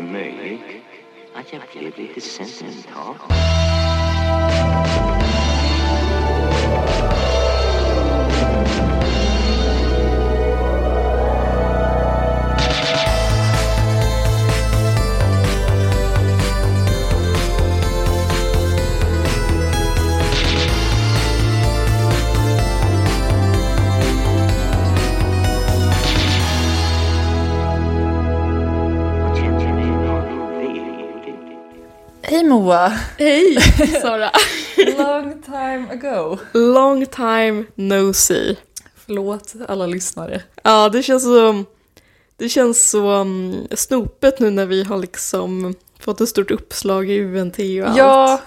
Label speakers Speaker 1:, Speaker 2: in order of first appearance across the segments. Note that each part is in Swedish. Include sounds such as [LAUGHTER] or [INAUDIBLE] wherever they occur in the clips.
Speaker 1: möjligt att jag blev lite sentimental. Och kände mig väldigt
Speaker 2: Hej Moa!
Speaker 3: [LAUGHS] Hej Sara!
Speaker 2: Long time ago.
Speaker 3: Long time no see.
Speaker 2: Förlåt alla lyssnare.
Speaker 3: Ja, det känns så, det känns så um, snopet nu när vi har liksom fått ett stort uppslag i UNT och allt.
Speaker 2: Ja,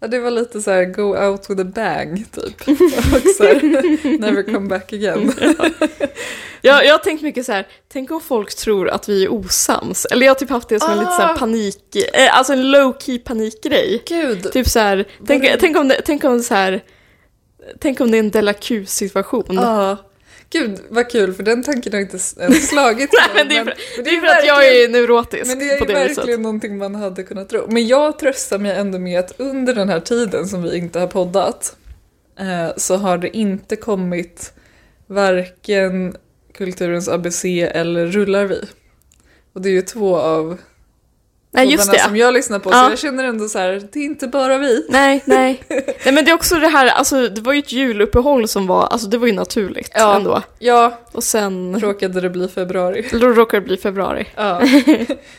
Speaker 2: ja, det var lite så här go out with a bang [LAUGHS] typ. Och så här, never come back again.
Speaker 3: Jag, jag har tänkt mycket så här, tänk om folk tror att vi är osams. Eller jag har typ haft det som en lite så här
Speaker 2: Ah.
Speaker 3: panik, eh, alltså en low key panikgrej.
Speaker 2: Gud,
Speaker 3: Typ så här, tänk,
Speaker 2: Var det-
Speaker 3: tänk om det, tänk om så här, tänk om det är en Della Q situation.
Speaker 2: ja. Gud vad kul för den tanken har inte s- ens [LAUGHS] slagit
Speaker 3: Nej, men det är, för, det är för att jag är neurotisk
Speaker 2: Men det är
Speaker 3: på
Speaker 2: ju
Speaker 3: det
Speaker 2: verkligen
Speaker 3: viset.
Speaker 2: någonting man hade kunnat tro. Men jag tröstar mig ändå med att under den här tiden som vi inte har poddat eh, så har det inte kommit varken Kulturens ABC eller Rullar vi. Och det är ju två av
Speaker 3: Nej, just
Speaker 2: poddarna
Speaker 3: det.
Speaker 2: som jag lyssnar på.
Speaker 3: Ja.
Speaker 2: Så jag känner ändå så här, det är inte bara vi.
Speaker 3: Nej, nej. nej men det är också det här, alltså det var ju ett juluppehåll som var, alltså det var ju naturligt
Speaker 2: Ja.
Speaker 3: ändå.
Speaker 2: Ja,
Speaker 3: Och sen
Speaker 2: råkade det bli februari.
Speaker 3: då råkar det bli februari. [LAUGHS]
Speaker 2: Ja,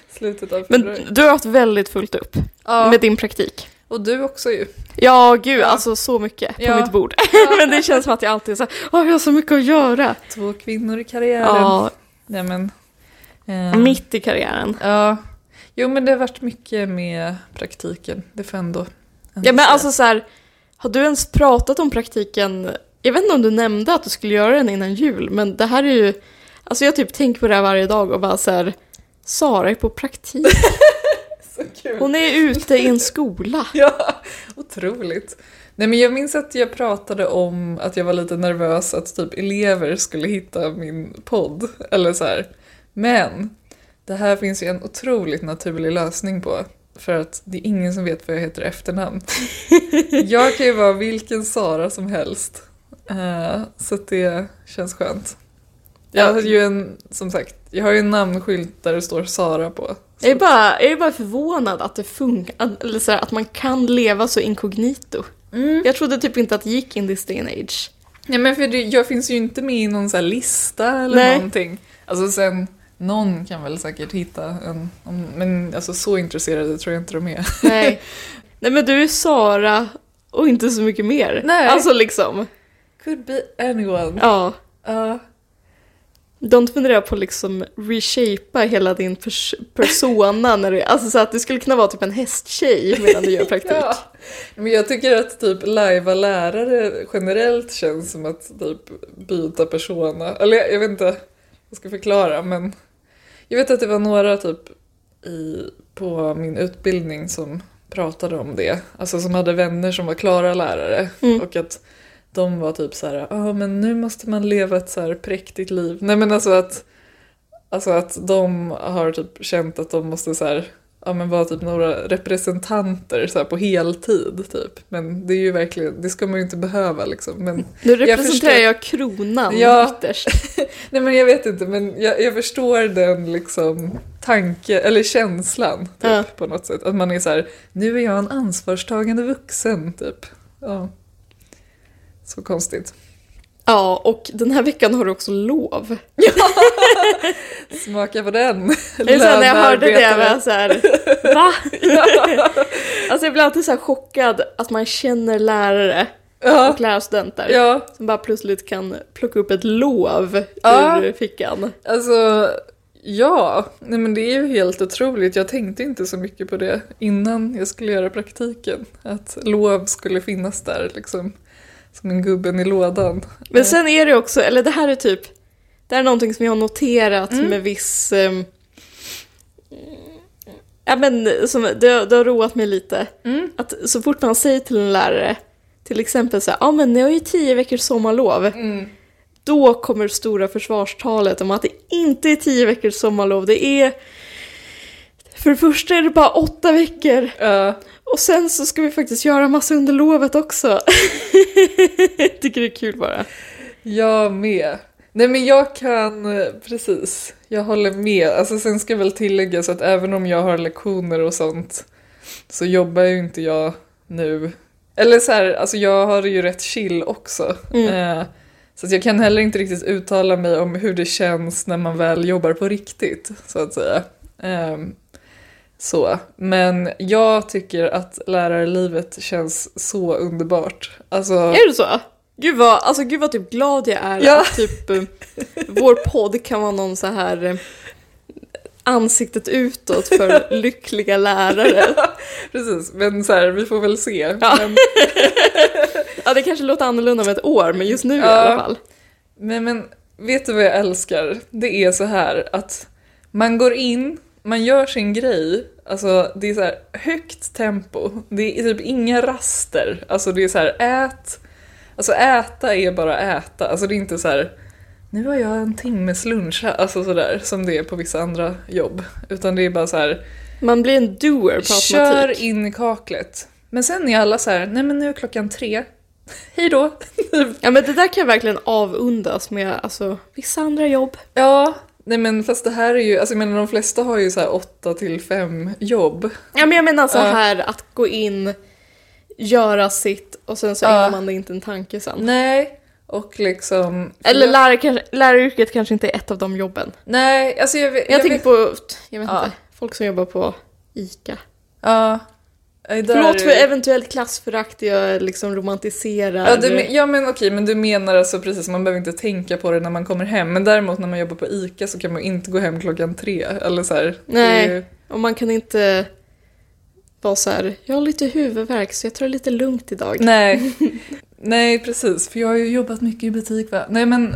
Speaker 2: slutet av
Speaker 3: Men
Speaker 2: februari.
Speaker 3: du har haft väldigt fullt upp
Speaker 2: Ja,
Speaker 3: med din praktik.
Speaker 2: och du också ju.
Speaker 3: Ja, gud,
Speaker 2: Ja.
Speaker 3: alltså så mycket på
Speaker 2: Ja.
Speaker 3: mitt bord. [LAUGHS] men det känns som att jag alltid är så här, "Åh, jag har så mycket att göra.
Speaker 2: Två kvinnor i karriären.
Speaker 3: Ja,
Speaker 2: Nej, men, ehm.
Speaker 3: mitt i karriären.
Speaker 2: Ja. Jo men det har varit mycket med praktiken. Det får ändå... ändå
Speaker 3: Ja, men
Speaker 2: sägas.
Speaker 3: alltså så här, har du ens pratat om praktiken? Jag vet inte om du nämnde att du skulle göra den innan jul, men det här är ju, alltså jag typ tänker på det här varje dag och bara så här, Sara är på praktik.
Speaker 2: Så kul.
Speaker 3: Hon är ute i en skola.
Speaker 2: [LAUGHS] Ja, otroligt. Nej men jag minns att jag pratade om att jag var lite nervös att typ elever skulle hitta min podd. Eller så här. Men det här finns ju en otroligt naturlig lösning på. För att det är ingen som vet vad jag heter i efternamn. Jag kan ju vara vilken Sara som helst. Eh, så att det känns skönt. Jag har ju en, som sagt, jag har ju en namnskylt där det står Sara på.
Speaker 3: Jag är bara, jag är bara förvånad att det funkar, eller så här, att man kan leva så inkognito. Jag trodde typ inte att det gick in this day and age.
Speaker 2: Nej men för det, jag finns ju inte med i någon så här lista eller
Speaker 3: Nej.
Speaker 2: någonting. Alltså sen, någon kan väl säkert hitta en, om, men alltså så intresserade tror jag inte de är.
Speaker 3: Nej. [LAUGHS] Nej men du är Sara och inte så mycket mer.
Speaker 2: Nej.
Speaker 3: Alltså liksom,
Speaker 2: Could be anyone.
Speaker 3: ja.
Speaker 2: Ja.
Speaker 3: Don't fundera på att liksom reshapea hela din pers- persona när du, alltså så att du skulle kunna vara typ en hästtjej
Speaker 2: [LAUGHS]
Speaker 3: medan du gör praktik.
Speaker 2: ja. Men jag tycker att typ lajva lärare generellt känns som att typ byta persona. Eller jag, jag vet inte, jag ska förklara men jag vet att det var några typ i, på min utbildning som pratade om det. Alltså som hade vänner som var klara lärare
Speaker 3: Mm.
Speaker 2: och att de var typ så här, ja men nu måste man leva ett så här präktigt liv. Nej men alltså att, alltså att de har typ känt att de måste så här, ja men vara typ några representanter så här på heltid typ. Men det är ju verkligen, det ska man ju inte behöva liksom. Men
Speaker 3: Nu representerar
Speaker 2: förstår.
Speaker 3: jag, kronan
Speaker 2: Ja.
Speaker 3: ytterst.
Speaker 2: Nej men jag vet inte, men jag, jag förstår den liksom tanke, eller känslan typ,
Speaker 3: Ja.
Speaker 2: på något sätt. Att man är så här, nu är jag en ansvarstagande vuxen typ. Ja. Så konstigt.
Speaker 3: Ja, och den här veckan har du också lov.
Speaker 2: Smaka på den. [LAUGHS]
Speaker 3: Eller så här, när jag hörde det jag
Speaker 2: lönearbetare.
Speaker 3: var jag så
Speaker 2: [LAUGHS]
Speaker 3: här, va? alltså jag blir alltid så här chockad att man känner lärare
Speaker 2: Ja,
Speaker 3: och lärarstudenter
Speaker 2: ja,
Speaker 3: som bara plötsligt kan plocka upp ett lov
Speaker 2: Ja.
Speaker 3: ur fickan.
Speaker 2: alltså ja. Nej men det är ju helt otroligt. Jag tänkte inte så mycket på det innan jag skulle göra praktiken. Att lov skulle finnas där liksom. Som en gubben i lådan.
Speaker 3: Men sen är det också, eller det här är typ, det här är någonting som jag har noterat
Speaker 2: Mm.
Speaker 3: med viss... ehm, ja men som, det, det har roat mig lite.
Speaker 2: Mm.
Speaker 3: Att så fort man säger till en lärare, till exempel så här, ja men ni har ju tio veckors sommarlov.
Speaker 2: Mm.
Speaker 3: Då kommer stora försvarstalet om att det inte är tio veckors sommarlov. Det är För det första är det bara åtta veckor.
Speaker 2: Ja,
Speaker 3: Och sen så ska vi faktiskt göra massa under lovet också. [LAUGHS] Jag Tycker det är kul bara.
Speaker 2: jag med. Nej men jag kan, eh, precis, jag håller med. Alltså sen ska väl tilläggas att även om jag har lektioner och sånt så jobbar ju inte jag nu. Eller så här, alltså jag har det ju rätt chill också. Eh, Så att jag kan heller inte riktigt uttala mig om hur det känns när man väl jobbar på riktigt, så att säga. Ehm, Så. Men jag tycker att lärarlivet känns så underbart. Alltså,
Speaker 3: Är det så? Gud vad, alltså, gud vad typ glad jag är
Speaker 2: Ja.
Speaker 3: att typ, eh, vår podd kan vara någon så här eh, ansiktet utåt [LAUGHS] för lyckliga lärare.
Speaker 2: precis. Men så här, vi får väl se.
Speaker 3: Ja.
Speaker 2: Men,
Speaker 3: Ja, det kanske låter annorlunda om ett år, men just nu i
Speaker 2: Ja.
Speaker 3: alla fall.
Speaker 2: men, men vet du vad jag älskar? Det är så här att man går in, man gör sin grej. Alltså det är så här högt tempo. Det är typ inga raster. Alltså det är så här ät. Alltså äta är bara äta. Alltså det är inte så här nu har jag en timmes lunch här. Alltså sådär som det är på vissa andra jobb. Utan det är bara så här
Speaker 3: Man blir en doer på
Speaker 2: Kör
Speaker 3: automatik.
Speaker 2: in i kaklet. Men sen är alla så här, nej men nu är klockan tre. [LAUGHS] Hej då. [LAUGHS] Typ.
Speaker 3: Ja, men det där kan jag verkligen avundas med alltså, vissa andra jobb.
Speaker 2: ja, nej men fast det här är ju, alltså jag menar de flesta har ju så här åtta till fem jobb.
Speaker 3: Ja, men jag menar så
Speaker 2: Ja.
Speaker 3: här att gå in, göra sitt och sen så
Speaker 2: Ja.
Speaker 3: ägnar man det inte en tanke sen.
Speaker 2: Nej, och liksom...
Speaker 3: Eller
Speaker 2: jag,
Speaker 3: lärare, kanske- läraryrket kanske inte är ett av de jobben.
Speaker 2: Nej, alltså jag, vet-
Speaker 3: Jag,
Speaker 2: vet-
Speaker 3: tänker på, jag vet
Speaker 2: Ja.
Speaker 3: inte, folk som jobbar på ICA.
Speaker 2: Ja. Där
Speaker 3: Förlåt för
Speaker 2: är-
Speaker 3: eventuellt klassförakt, jag liksom romantiserar.
Speaker 2: Ja, du, men- ja men okej, men du menar alltså precis, man behöver inte tänka på det när man kommer hem. Men däremot när man jobbar på ICA så kan man inte gå hem klockan tre. Eller så här, det är ju-
Speaker 3: Nej, och man kan inte vara så här, jag har lite huvudvärk så jag tar det lite lugnt idag.
Speaker 2: Nej. [LAUGHS] Nej, precis. För jag har ju jobbat mycket i butik. Va? Nej, men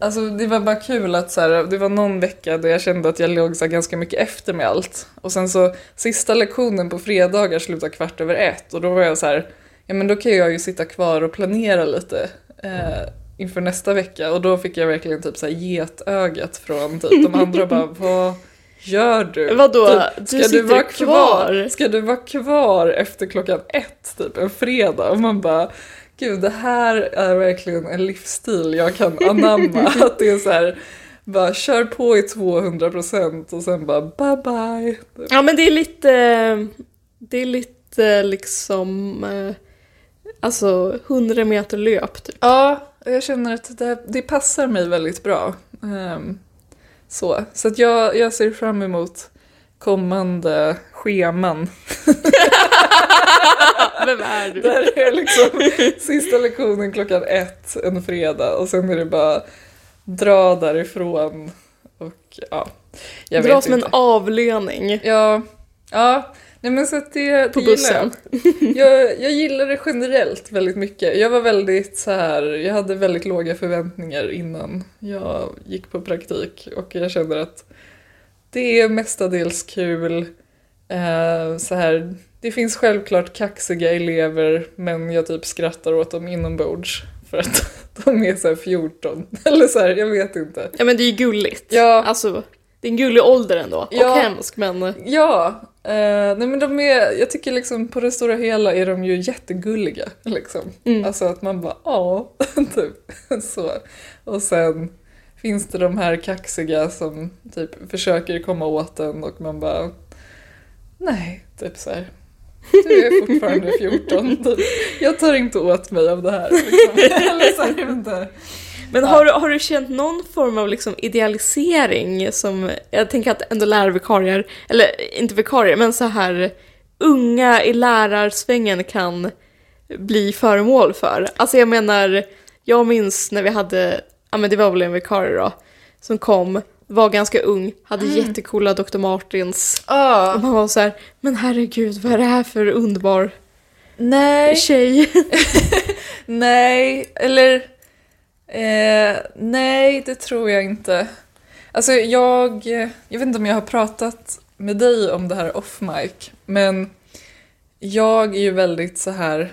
Speaker 2: alltså, det var bara kul att så här, det var någon vecka där jag kände att jag låg så här, ganska mycket efter med allt. Och sen så sista lektionen på fredagar slutade kvart över ett och då var jag så här, ja men då kan jag ju sitta kvar och planera lite. Eh, inför nästa vecka och då fick jag verkligen typ så här getögat från typ de andra bara [LAUGHS] vad gör du?
Speaker 3: Vadå?
Speaker 2: Typ,
Speaker 3: Du sitter kvar?
Speaker 2: Ska du vara kvar efter klockan ett, typ en fredag? Och man bara, gud det här är verkligen en livsstil jag [LAUGHS] kan anamma. att det är så här, bara kör på i 200% och sen bara bye bye.
Speaker 3: Ja men det är lite, det är lite liksom, eh, alltså 100 meter löp typ.
Speaker 2: Ja, jag känner att det, det passar mig väldigt bra. Ehm, så så att jag, jag ser fram emot kommande scheman.
Speaker 3: Vem är du?
Speaker 2: Där är liksom sista lektionen klockan ett en fredag och sen är det bara dra därifrån och ja, jag
Speaker 3: Dra
Speaker 2: vet
Speaker 3: som en
Speaker 2: inte.
Speaker 3: avlöning.
Speaker 2: Ja, ja. Nej men så att det,
Speaker 3: På
Speaker 2: det gillar
Speaker 3: bussen.
Speaker 2: Jag. Jag, jag gillar det generellt väldigt mycket. Jag var väldigt så här, jag hade väldigt låga förväntningar innan jag gick på praktik och jag känner att det är mestadels kul. Eh, så här, det finns självklart kaxiga elever men jag typ skrattar åt dem inombords för att [LAUGHS] de är så här 14 eller så här, jag vet inte.
Speaker 3: Ja men det är ju gulligt.
Speaker 2: Ja.
Speaker 3: Alltså, det är en gullig ålder ändå.
Speaker 2: Ja.
Speaker 3: Och hemsk men.
Speaker 2: Ja, eh, nej men de är, jag tycker liksom på det stora hela är de ju jättegulliga. Liksom.
Speaker 3: Mm.
Speaker 2: Alltså att man bara ja, [LAUGHS] typ så. Och sen finns det de här kaxiga som typ försöker komma åt en och man bara nej, typ så här. Du är [LAUGHS] fortfarande 14, typ. jag tar inte åt mig av det här. [LAUGHS] Liksom. Eller så här, jag vet inte.
Speaker 3: Men
Speaker 2: Ja.
Speaker 3: har, du- har du känt någon form av liksom idealisering som, jag tänker att ändå lärarvikarier, eller inte vikarier, men så här unga i lärarsvängen kan bli föremål för. Alltså jag menar, jag minns när vi hade, ja men det var väl en vikarie då, som kom, var ganska ung, hade
Speaker 2: Mm.
Speaker 3: jättecoola Dr. Martins. Och
Speaker 2: Ah,
Speaker 3: man var så här, men herregud vad är det här för underbar
Speaker 2: nej.
Speaker 3: tjej? [LAUGHS]
Speaker 2: Nej, eller... Eh, nej, det tror jag inte. Alltså jag... Jag vet inte om jag har pratat med dig om det här off mic, men jag är ju väldigt så här...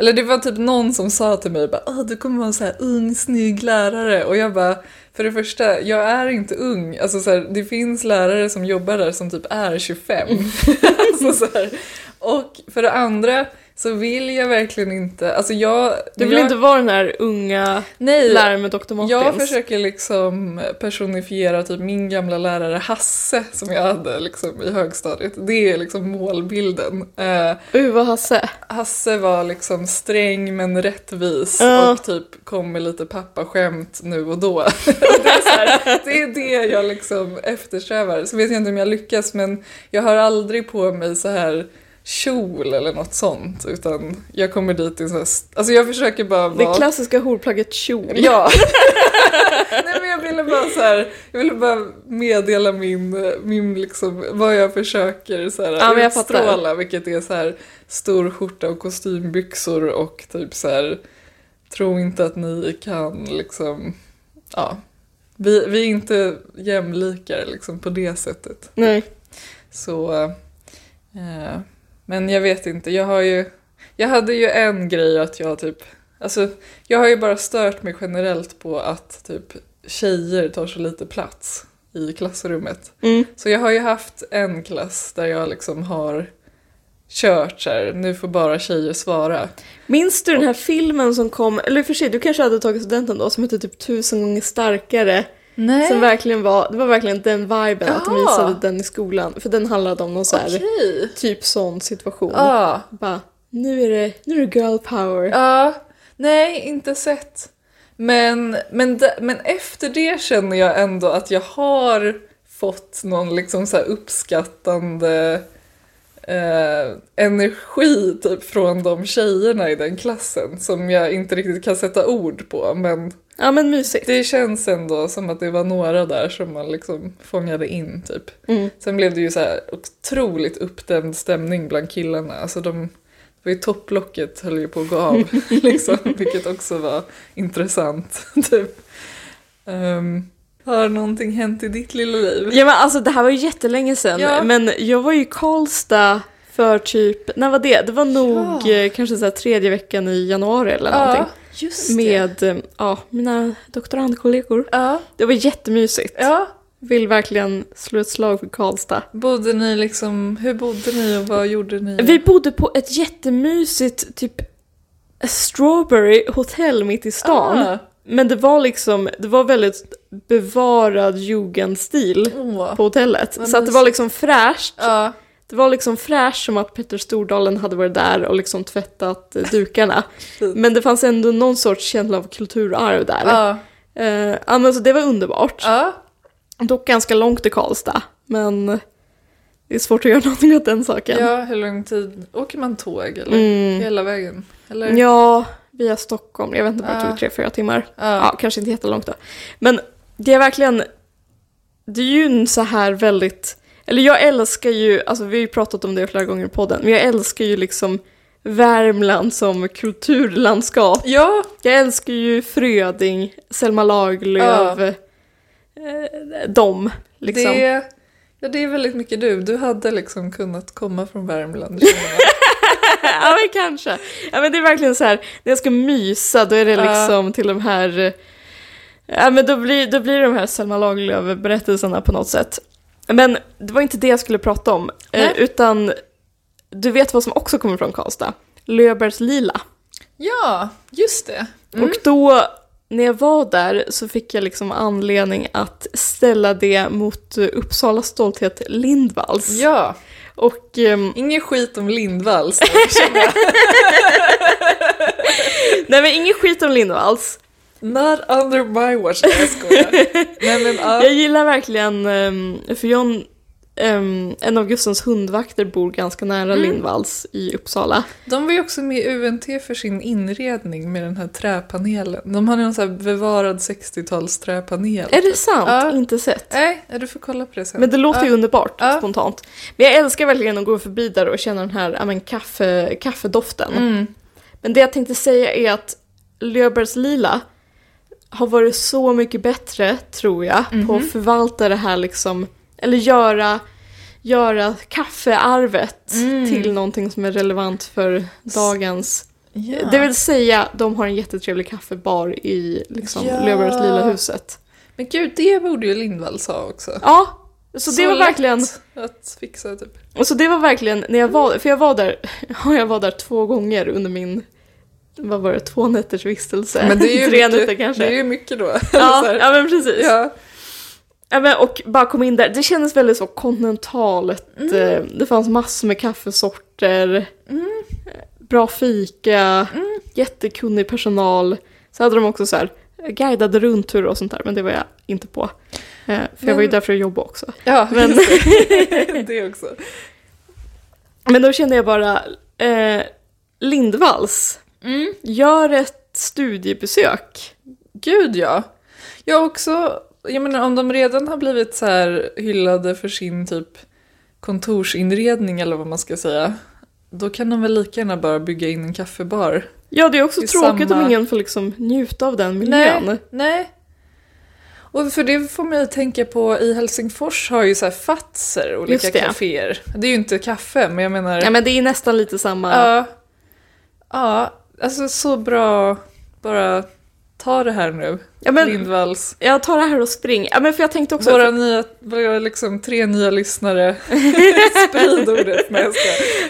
Speaker 2: Eller det var typ någon som sa till mig bara Åh, du kommer vara en så här ung, snygg lärare. Och jag bara, för det första, jag är inte ung. Alltså så här, det finns lärare som jobbar där som typ är 25.
Speaker 3: Mm.
Speaker 2: [LAUGHS] alltså, så här. Och för det andra så vill jag verkligen inte, alltså jag...
Speaker 3: Du vill
Speaker 2: jag,
Speaker 3: inte vara den där unga
Speaker 2: Nej.
Speaker 3: läraren med Dr. Martens.
Speaker 2: Jag försöker liksom personifiera typ min gamla lärare Hasse som jag hade liksom i högstadiet. Det är liksom målbilden. Eh,
Speaker 3: Uh, vad Hasse.
Speaker 2: Hasse var liksom sträng men rättvis
Speaker 3: Ja.
Speaker 2: och typ kom med lite pappaskämt nu och då. [LAUGHS] det, är så här, det är det jag liksom eftersträvar. Så vet jag inte om jag lyckas men jag har aldrig på mig så här kjol eller något sånt utan jag kommer dit i så här, st- alltså jag försöker bara
Speaker 3: Det
Speaker 2: vara...
Speaker 3: klassiska horplagget [LAUGHS] kjol.
Speaker 2: Ja. Nej men jag ville bara så här, jag ville bara meddela min, min liksom, vad jag försöker så här,
Speaker 3: Ja, men jag fattar.
Speaker 2: utstråla, vilket är så här stor skjorta och kostymbyxor och typ så här, tro inte att ni kan liksom, ja. Vi, vi är inte jämlikar liksom på det sättet.
Speaker 3: Nej.
Speaker 2: Så, eh, men jag vet inte, jag har ju, jag hade ju en grej att jag typ, alltså jag har ju bara stört mig generellt på att typ tjejer tar så lite plats i klassrummet.
Speaker 3: Mm.
Speaker 2: Så jag har ju haft en klass där jag liksom har kört så här, nu får bara tjejer svara.
Speaker 3: Minns du den här filmen som kom, eller i och för sig, du kanske hade tagit studenten då, som hette typ tusen gånger starkare.
Speaker 2: Nej,
Speaker 3: Som verkligen var, det var verkligen den viben, att de
Speaker 2: Jaha.
Speaker 3: visade den i skolan. För den handlade om någon så här,
Speaker 2: okej.
Speaker 3: typ sån situation.
Speaker 2: Ja,
Speaker 3: Bara, nu är det, nu är det girl power.
Speaker 2: Ja, nej, inte sett. Men, men, de- men efter det känner jag ändå att jag har fått någon liksom så här uppskattande eh, energi typ från de tjejerna i den klassen som jag inte riktigt kan sätta ord på. Men
Speaker 3: Ja men mysigt.
Speaker 2: det känns ändå som att det var några där som man liksom fångade in typ.
Speaker 3: Mm.
Speaker 2: Sen blev det ju så här otroligt uppdämd stämning bland killarna. Alltså de, det var ju topplocket höll ju på att gå [LAUGHS] av, liksom, vilket också var intressant. [LAUGHS] Typ. Ehm, har någonting hänt i ditt lilla liv?
Speaker 3: Ja men alltså det här var ju jättelänge sedan,
Speaker 2: Ja.
Speaker 3: men jag var ju i Karlstad för typ, när var det? Det var nog
Speaker 2: Ja.
Speaker 3: eh, kanske så här tredje veckan i januari eller någonting.
Speaker 2: just det.
Speaker 3: Med eh, ja, mina doktorandkollegor.
Speaker 2: Ja,
Speaker 3: Det var jättemysigt.
Speaker 2: ja.
Speaker 3: Vill verkligen slå ett slag för Karlstad.
Speaker 2: Bodde ni liksom, hur bodde ni och vad gjorde ni?
Speaker 3: Vi bodde på ett jättemysigt typ strawberry hotell mitt i stan.
Speaker 2: Ah,
Speaker 3: Men det var liksom, det var väldigt bevarad jugendstil
Speaker 2: åh.
Speaker 3: på hotellet.
Speaker 2: Vad
Speaker 3: så att det var liksom fräscht.
Speaker 2: Ja,
Speaker 3: Det var liksom fräscht som att Petter Stordalen hade varit där och liksom tvättat eh, dukarna.
Speaker 2: [LAUGHS] Fint.
Speaker 3: men det fanns ändå någon sorts känsla av kulturarv där.
Speaker 2: ja,
Speaker 3: Eh, ja, men så det var underbart.
Speaker 2: ja.
Speaker 3: Dock ganska långt till Karlstad. Men det är svårt att göra [LAUGHS] någonting åt den saken.
Speaker 2: Ja, hur lång tid? Åker man tåg eller?
Speaker 3: Mm.
Speaker 2: Hela vägen? Eller?
Speaker 3: Ja, via Stockholm. Jag vet inte, bara
Speaker 2: Ja.
Speaker 3: typ tre, fyra timmar.
Speaker 2: Ja.
Speaker 3: Ja, kanske inte jättelångt då. Men det är verkligen, det är ju en så här väldigt, eller jag älskar ju, alltså vi har ju pratat om det flera gånger i podden, men jag älskar ju liksom Värmland som kulturlandskap.
Speaker 2: ja.
Speaker 3: Jag älskar ju Fröding, Selma Lagerlöf, eh, dem liksom.
Speaker 2: Det, ja, det är väldigt mycket du. Du hade liksom kunnat komma från Värmland. [LAUGHS] känner jag.
Speaker 3: [LAUGHS] ja men kanske. Ja men det är verkligen så här, när jag ska mysa då är det
Speaker 2: Ja.
Speaker 3: liksom till de här, eh, ja men då blir, då blir det de här Selma Lagerlöf-berättelserna på något sätt. Men det var inte det jag skulle prata om, eh,
Speaker 2: Nej.
Speaker 3: utan du vet vad som också kommer från Karlstad? Löfbergs Lila.
Speaker 2: ja, just det.
Speaker 3: Och då, när jag var där så fick jag liksom anledning att ställa det mot eh, Uppsala stolthet Lindvalls.
Speaker 2: Ja,
Speaker 3: Och ehm,
Speaker 2: ingen skit om Lindvalls.
Speaker 3: [LAUGHS] nej men ingen skit om Lindvalls.
Speaker 2: Not under my watch. Nej, jag
Speaker 3: [LAUGHS]
Speaker 2: skojar. Nej, men, ja.
Speaker 3: Jag gillar verkligen, ehm, för John, ehm, en av Gustens hundvakter bor ganska nära
Speaker 2: Mm.
Speaker 3: Lindvalls i Uppsala.
Speaker 2: De var ju också med i UNT för sin inredning med den här träpanelen. De hade någon så här bevarad 60-tals träpanel.
Speaker 3: Är det sant?
Speaker 2: Ja.
Speaker 3: Inte sett.
Speaker 2: Nej, ja, du får kolla på det sen.
Speaker 3: Men det låter ju
Speaker 2: Ja.
Speaker 3: underbart
Speaker 2: Ja.
Speaker 3: spontant. Men jag älskar verkligen att gå förbi där och känna den här ja, men, kaffe, kaffedoften.
Speaker 2: Mm.
Speaker 3: Men det jag tänkte säga är att Löfbergs Lila har varit så mycket bättre, tror jag, på
Speaker 2: Mhm.
Speaker 3: att förvalta det här liksom, eller göra,
Speaker 2: Mm.
Speaker 3: göra kaffearvet till någonting som är relevant för dagens
Speaker 2: Ja.
Speaker 3: Det vill säga, de har en jättetrevlig kaffebar i liksom,
Speaker 2: Ja.
Speaker 3: Löfbergs lila huset.
Speaker 2: Men gud, det borde ju Lindvall sa också.
Speaker 3: Ja, så, det var
Speaker 2: lätt
Speaker 3: verkligen...
Speaker 2: Att fixa
Speaker 3: [LAUGHS]
Speaker 2: typ.
Speaker 3: Och så det var verkligen när jag var, för jag var där, [LAUGHS] ja, jag var där två gånger under min, vad var det, två nätters vistelse.
Speaker 2: Men det är ju
Speaker 3: [LAUGHS] Tre
Speaker 2: mycket,
Speaker 3: nätter kanske.
Speaker 2: Det är ju mycket då. [LAUGHS] Så
Speaker 3: ja,
Speaker 2: här,
Speaker 3: ja, men precis. Ja.
Speaker 2: ja.
Speaker 3: men, och bara kom in där, det kändes väldigt så kontinentalt.
Speaker 2: Mm.
Speaker 3: eh, Det fanns massor med kaffesorter,
Speaker 2: Mm.
Speaker 3: eh, bra fika, jättekunnig personal. Så hade de också så här eh, guidade rundturer och sånt där, men det var jag inte på. Eh, För jag var ju
Speaker 2: Men-
Speaker 3: där för att jobba också.
Speaker 2: [LAUGHS] ja
Speaker 3: Men-
Speaker 2: just det. [LAUGHS] det också.
Speaker 3: Men då kände jag bara, eh, Lindvalls, gör ett studiebesök.
Speaker 2: Gud ja. Jag också, jag menar om de redan har blivit så här hyllade för sin typ kontorsinredning eller vad man ska säga. Då kan de väl lika gärna bara bygga in en kaffebar.
Speaker 3: Ja, det är också
Speaker 2: Det är
Speaker 3: tråkigt
Speaker 2: samma-
Speaker 3: om ingen får liksom njuta av den miljön.
Speaker 2: Nej, nej. Och för det får mig att tänka på, i Helsingfors har ju så här fatser, olika
Speaker 3: Just det.
Speaker 2: kaféer. Det är ju inte kaffe, men jag menar...
Speaker 3: Ja, men det är nästan lite samma.
Speaker 2: ja, ja, alltså så bra, bara ta det här nu,
Speaker 3: ja, men,
Speaker 2: Lindvalls.
Speaker 3: jag tar det här och spring. Ja, men för jag tänkte också...
Speaker 2: Våra nya, våra liksom tre nya
Speaker 3: [LAUGHS]
Speaker 2: lyssnare, sprid ordet med
Speaker 3: Ja,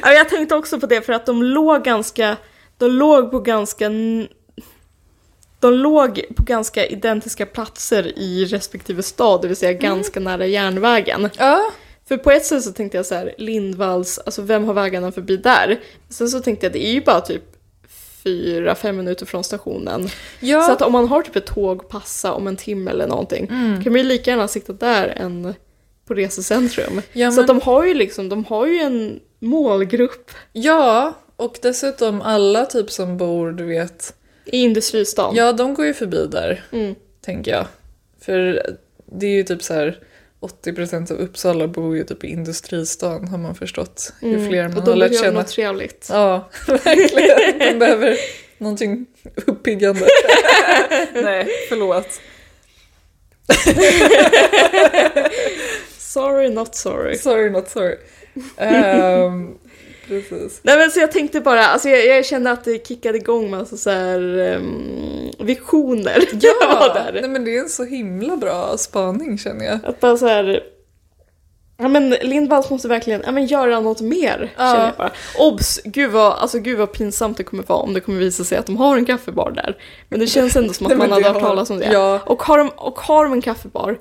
Speaker 3: men jag tänkte också på det för att de låg ganska... De låg på ganska... n- De låg på ganska identiska platser i respektive stad, det vill säga ganska nära järnvägen.
Speaker 2: Ja,
Speaker 3: För på ett sätt så tänkte jag så här, Lindvalls, alltså vem har vägarna förbi där? Sen så tänkte jag, det är ju bara typ fyra, fem minuter från stationen.
Speaker 2: ja.
Speaker 3: Så att om man har typ ett tåg passa om en timme eller någonting, kan man ju lika gärna sitta där än på resecentrum.
Speaker 2: Ja,
Speaker 3: Så att
Speaker 2: men-
Speaker 3: de har ju liksom, de har ju en målgrupp
Speaker 2: ja, och dessutom alla typ som bor, du vet,
Speaker 3: i industristan.
Speaker 2: ja de går ju förbi där.
Speaker 3: Mm.
Speaker 2: tänker jag. För det är ju typ så här 80% av Uppsala bor ju typ i industristan har man förstått. Ju
Speaker 3: Mm.
Speaker 2: fler man
Speaker 3: och de
Speaker 2: har lärt
Speaker 3: behöver
Speaker 2: känna.
Speaker 3: något [LAUGHS] trevligt.
Speaker 2: Ja, verkligen.
Speaker 3: [LAUGHS]
Speaker 2: De behöver någonting uppiggande. Nej, förlåt.
Speaker 3: Sorry, not sorry.
Speaker 2: Sorry not sorry.
Speaker 3: [LAUGHS]
Speaker 2: Ehm, precis.
Speaker 3: Nej men så jag tänkte bara, alltså jag, jag kände att det kickade igång massa så här ehm, visioner. [LAUGHS] Jag var där.
Speaker 2: nej men det är en så himla bra spaning känner jag.
Speaker 3: Att bara så här... Ja men Lindvalls måste verkligen ja, men göra något mer
Speaker 2: Ja.
Speaker 3: känner jag bara. Obs! Gud vad, alltså, gud vad pinsamt det kommer vara om det kommer visa sig att de har en kaffebar där. Men det känns ändå [LAUGHS] som att
Speaker 2: Nej, men
Speaker 3: man hade
Speaker 2: det
Speaker 3: hört
Speaker 2: har-
Speaker 3: talas om det.
Speaker 2: ja.
Speaker 3: Och, har de, och har de en kaffebar,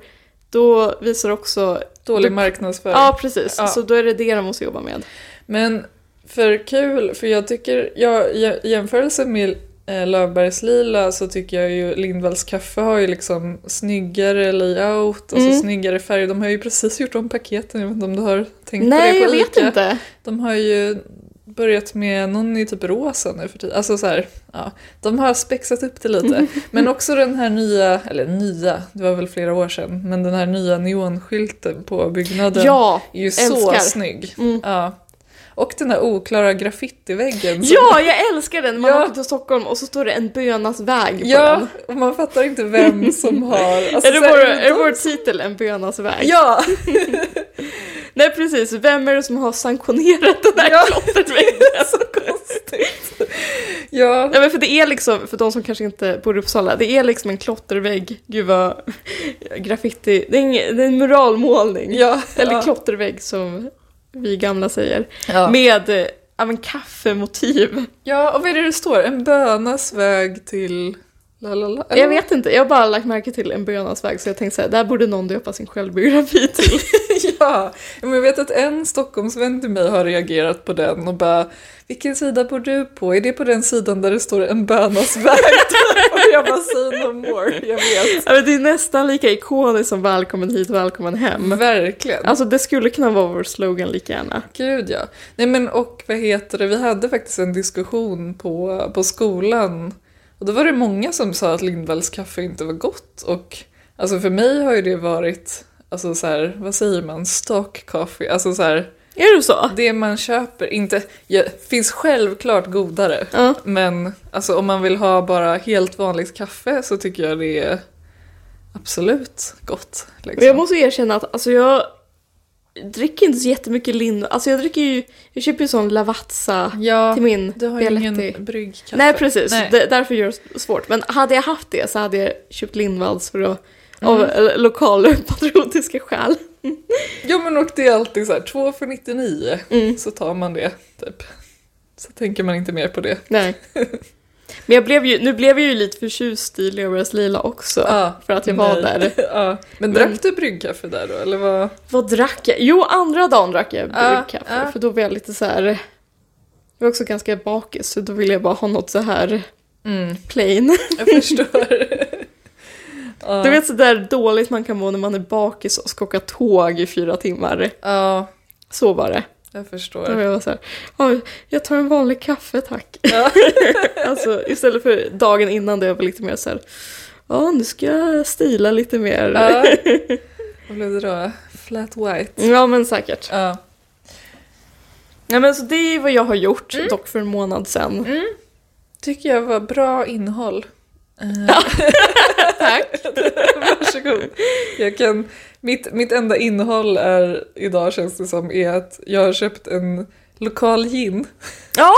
Speaker 3: då visar också...
Speaker 2: Dålig marknadsföring.
Speaker 3: Ja precis,
Speaker 2: Ja.
Speaker 3: så då är det det de måste jobba med.
Speaker 2: Men för kul, för jag tycker, jag, i i jämförelse med eh, Löfbergs Lila så tycker jag ju Lindvalls kaffe har ju liksom snyggare layout och
Speaker 3: Mm.
Speaker 2: så snyggare färger. De har ju precis gjort om paketen, jag vet inte om du har tänkt på det
Speaker 3: Nej
Speaker 2: på
Speaker 3: jag vet
Speaker 2: Ica.
Speaker 3: inte.
Speaker 2: De har ju börjat med någon i typ rosa nu för tiden. Alltså så här, ja. De har spexat upp det
Speaker 3: [LAUGHS]
Speaker 2: lite. Men också den här nya, eller nya, det var väl flera år sedan, men den här nya neonskylten på byggnaden
Speaker 3: Ja,
Speaker 2: är ju
Speaker 3: älskar.
Speaker 2: så snygg.
Speaker 3: Mm.
Speaker 2: Ja. Och den här oklara graffitiväggen. som-
Speaker 3: Ja, jag älskar den! Man
Speaker 2: Ja.
Speaker 3: åker till Stockholm och så står det en bönas väg på
Speaker 2: ja!
Speaker 3: den.
Speaker 2: Och man fattar inte vem
Speaker 3: [LAUGHS]
Speaker 2: som har... Alltså,
Speaker 3: Är det
Speaker 2: så här,
Speaker 3: vår,
Speaker 2: de-
Speaker 3: är det vår titel, En bönas väg?
Speaker 2: Ja!
Speaker 3: Nej precis, vem är det som har sanktionerat den här [LAUGHS]
Speaker 2: Ja,
Speaker 3: klotterväggen?
Speaker 2: så konstigt. Ja.
Speaker 3: Ja men för det är liksom, för de som kanske inte bor i Uppsala, det är liksom en klottervägg. Gud vad [LAUGHS] graffiti, det är en, det är en muralmålning.
Speaker 2: Ja.
Speaker 3: Eller
Speaker 2: ja.
Speaker 3: klottervägg som vi gamla säger.
Speaker 2: Ja.
Speaker 3: Med eh, ja, men kaffemotiv.
Speaker 2: ja, och vad är det det står? En bönas väg till... La, la, la.
Speaker 3: Jag vet inte, jag har bara lagt märke till en bönas väg så jag tänkte såhär, där borde någon döpa sin
Speaker 2: [LAUGHS]
Speaker 3: självbiografi till.
Speaker 2: [LAUGHS] Ja, men jag vet att en Stockholmsvän till mig har reagerat på den och bara “Vilken sida bor du på? Är det på den sidan där det står en bönas väg?” [LAUGHS] Och jag bara “Say no more, jag vet”.
Speaker 3: Ja, men det är nästan lika ikoniskt som välkommen hit, välkommen
Speaker 2: Mm.
Speaker 3: hem.
Speaker 2: Verkligen.
Speaker 3: Alltså det skulle kunna vara vår slogan lika gärna.
Speaker 2: Gud ja. Nej men och vad heter det, vi hade faktiskt en diskussion på, på skolan och då var det många som sa att Lindvalls kaffe inte var gott och alltså för mig har ju det varit, alltså så här, vad säger man, stock coffee, alltså så här,
Speaker 3: Är det så?
Speaker 2: det man köper, inte, ja, finns självklart godare
Speaker 3: Ja.
Speaker 2: men alltså om man vill ha bara helt vanligt kaffe så tycker jag det är absolut gott.
Speaker 3: Men jag
Speaker 2: Liksom.
Speaker 3: måste erkänna att alltså jag, dricker inte så jättemycket lin. Alltså jag dricker ju, jag köper ju sån Lavazza
Speaker 2: Ja,
Speaker 3: till min
Speaker 2: du har ju ingen bryggkaffe.
Speaker 3: Nej precis,
Speaker 2: Nej.
Speaker 3: Det, därför gör det svårt. Men hade jag haft det så hade jag köpt Lindvalls för att
Speaker 2: Mm.
Speaker 3: av lo- [LAUGHS] lokalpatriotiska skäl.
Speaker 2: Ja men och det är alltid så här, 2 för 99
Speaker 3: Mm.
Speaker 2: så tar man det typ. Så tänker man inte mer på det.
Speaker 3: Nej. Men jag blev ju, nu blev jag ju lite förtjust i Leoras Lila också.
Speaker 2: Ja,
Speaker 3: för att jag var
Speaker 2: nej.
Speaker 3: där.
Speaker 2: Ah, [LAUGHS] ja. Men
Speaker 3: Men-
Speaker 2: drack du bryggkaffe där då eller vad?
Speaker 3: Vad drack jag? Jo, andra dagen drack jag
Speaker 2: Ja,
Speaker 3: bryggkaffe.
Speaker 2: ja.
Speaker 3: För då var jag lite så här. Jag var också ganska bakis så då ville jag bara ha något så här
Speaker 2: Mm.
Speaker 3: plain.
Speaker 2: Jag
Speaker 3: [LAUGHS]
Speaker 2: förstår. ja.
Speaker 3: Du vet så där dåligt man kan må när man är bakis och ska åka tåg i fyra timmar.
Speaker 2: ja,
Speaker 3: Så var det.
Speaker 2: jag
Speaker 3: Då var
Speaker 2: förstår.
Speaker 3: jag så här, "Oj, jag tar en vanlig kaffe tack.
Speaker 2: Ja.
Speaker 3: [LAUGHS] Alltså istället för dagen innan där jag var lite mer så här, ja nu ska jag stila lite mer.
Speaker 2: Ja. Vad blev det då? Flat white.
Speaker 3: Ja men säkert.
Speaker 2: Ja.
Speaker 3: Ja, men så det är vad jag har gjort,
Speaker 2: Mm.
Speaker 3: dock för en månad sedan.
Speaker 2: Tycker jag var bra innehåll. Eh,
Speaker 3: [LAUGHS] Tack.
Speaker 2: Varsågod. Jag kan, mitt, mitt enda innehåll är, idag känns det som, är att jag har köpt en lokal gin.
Speaker 3: Ja.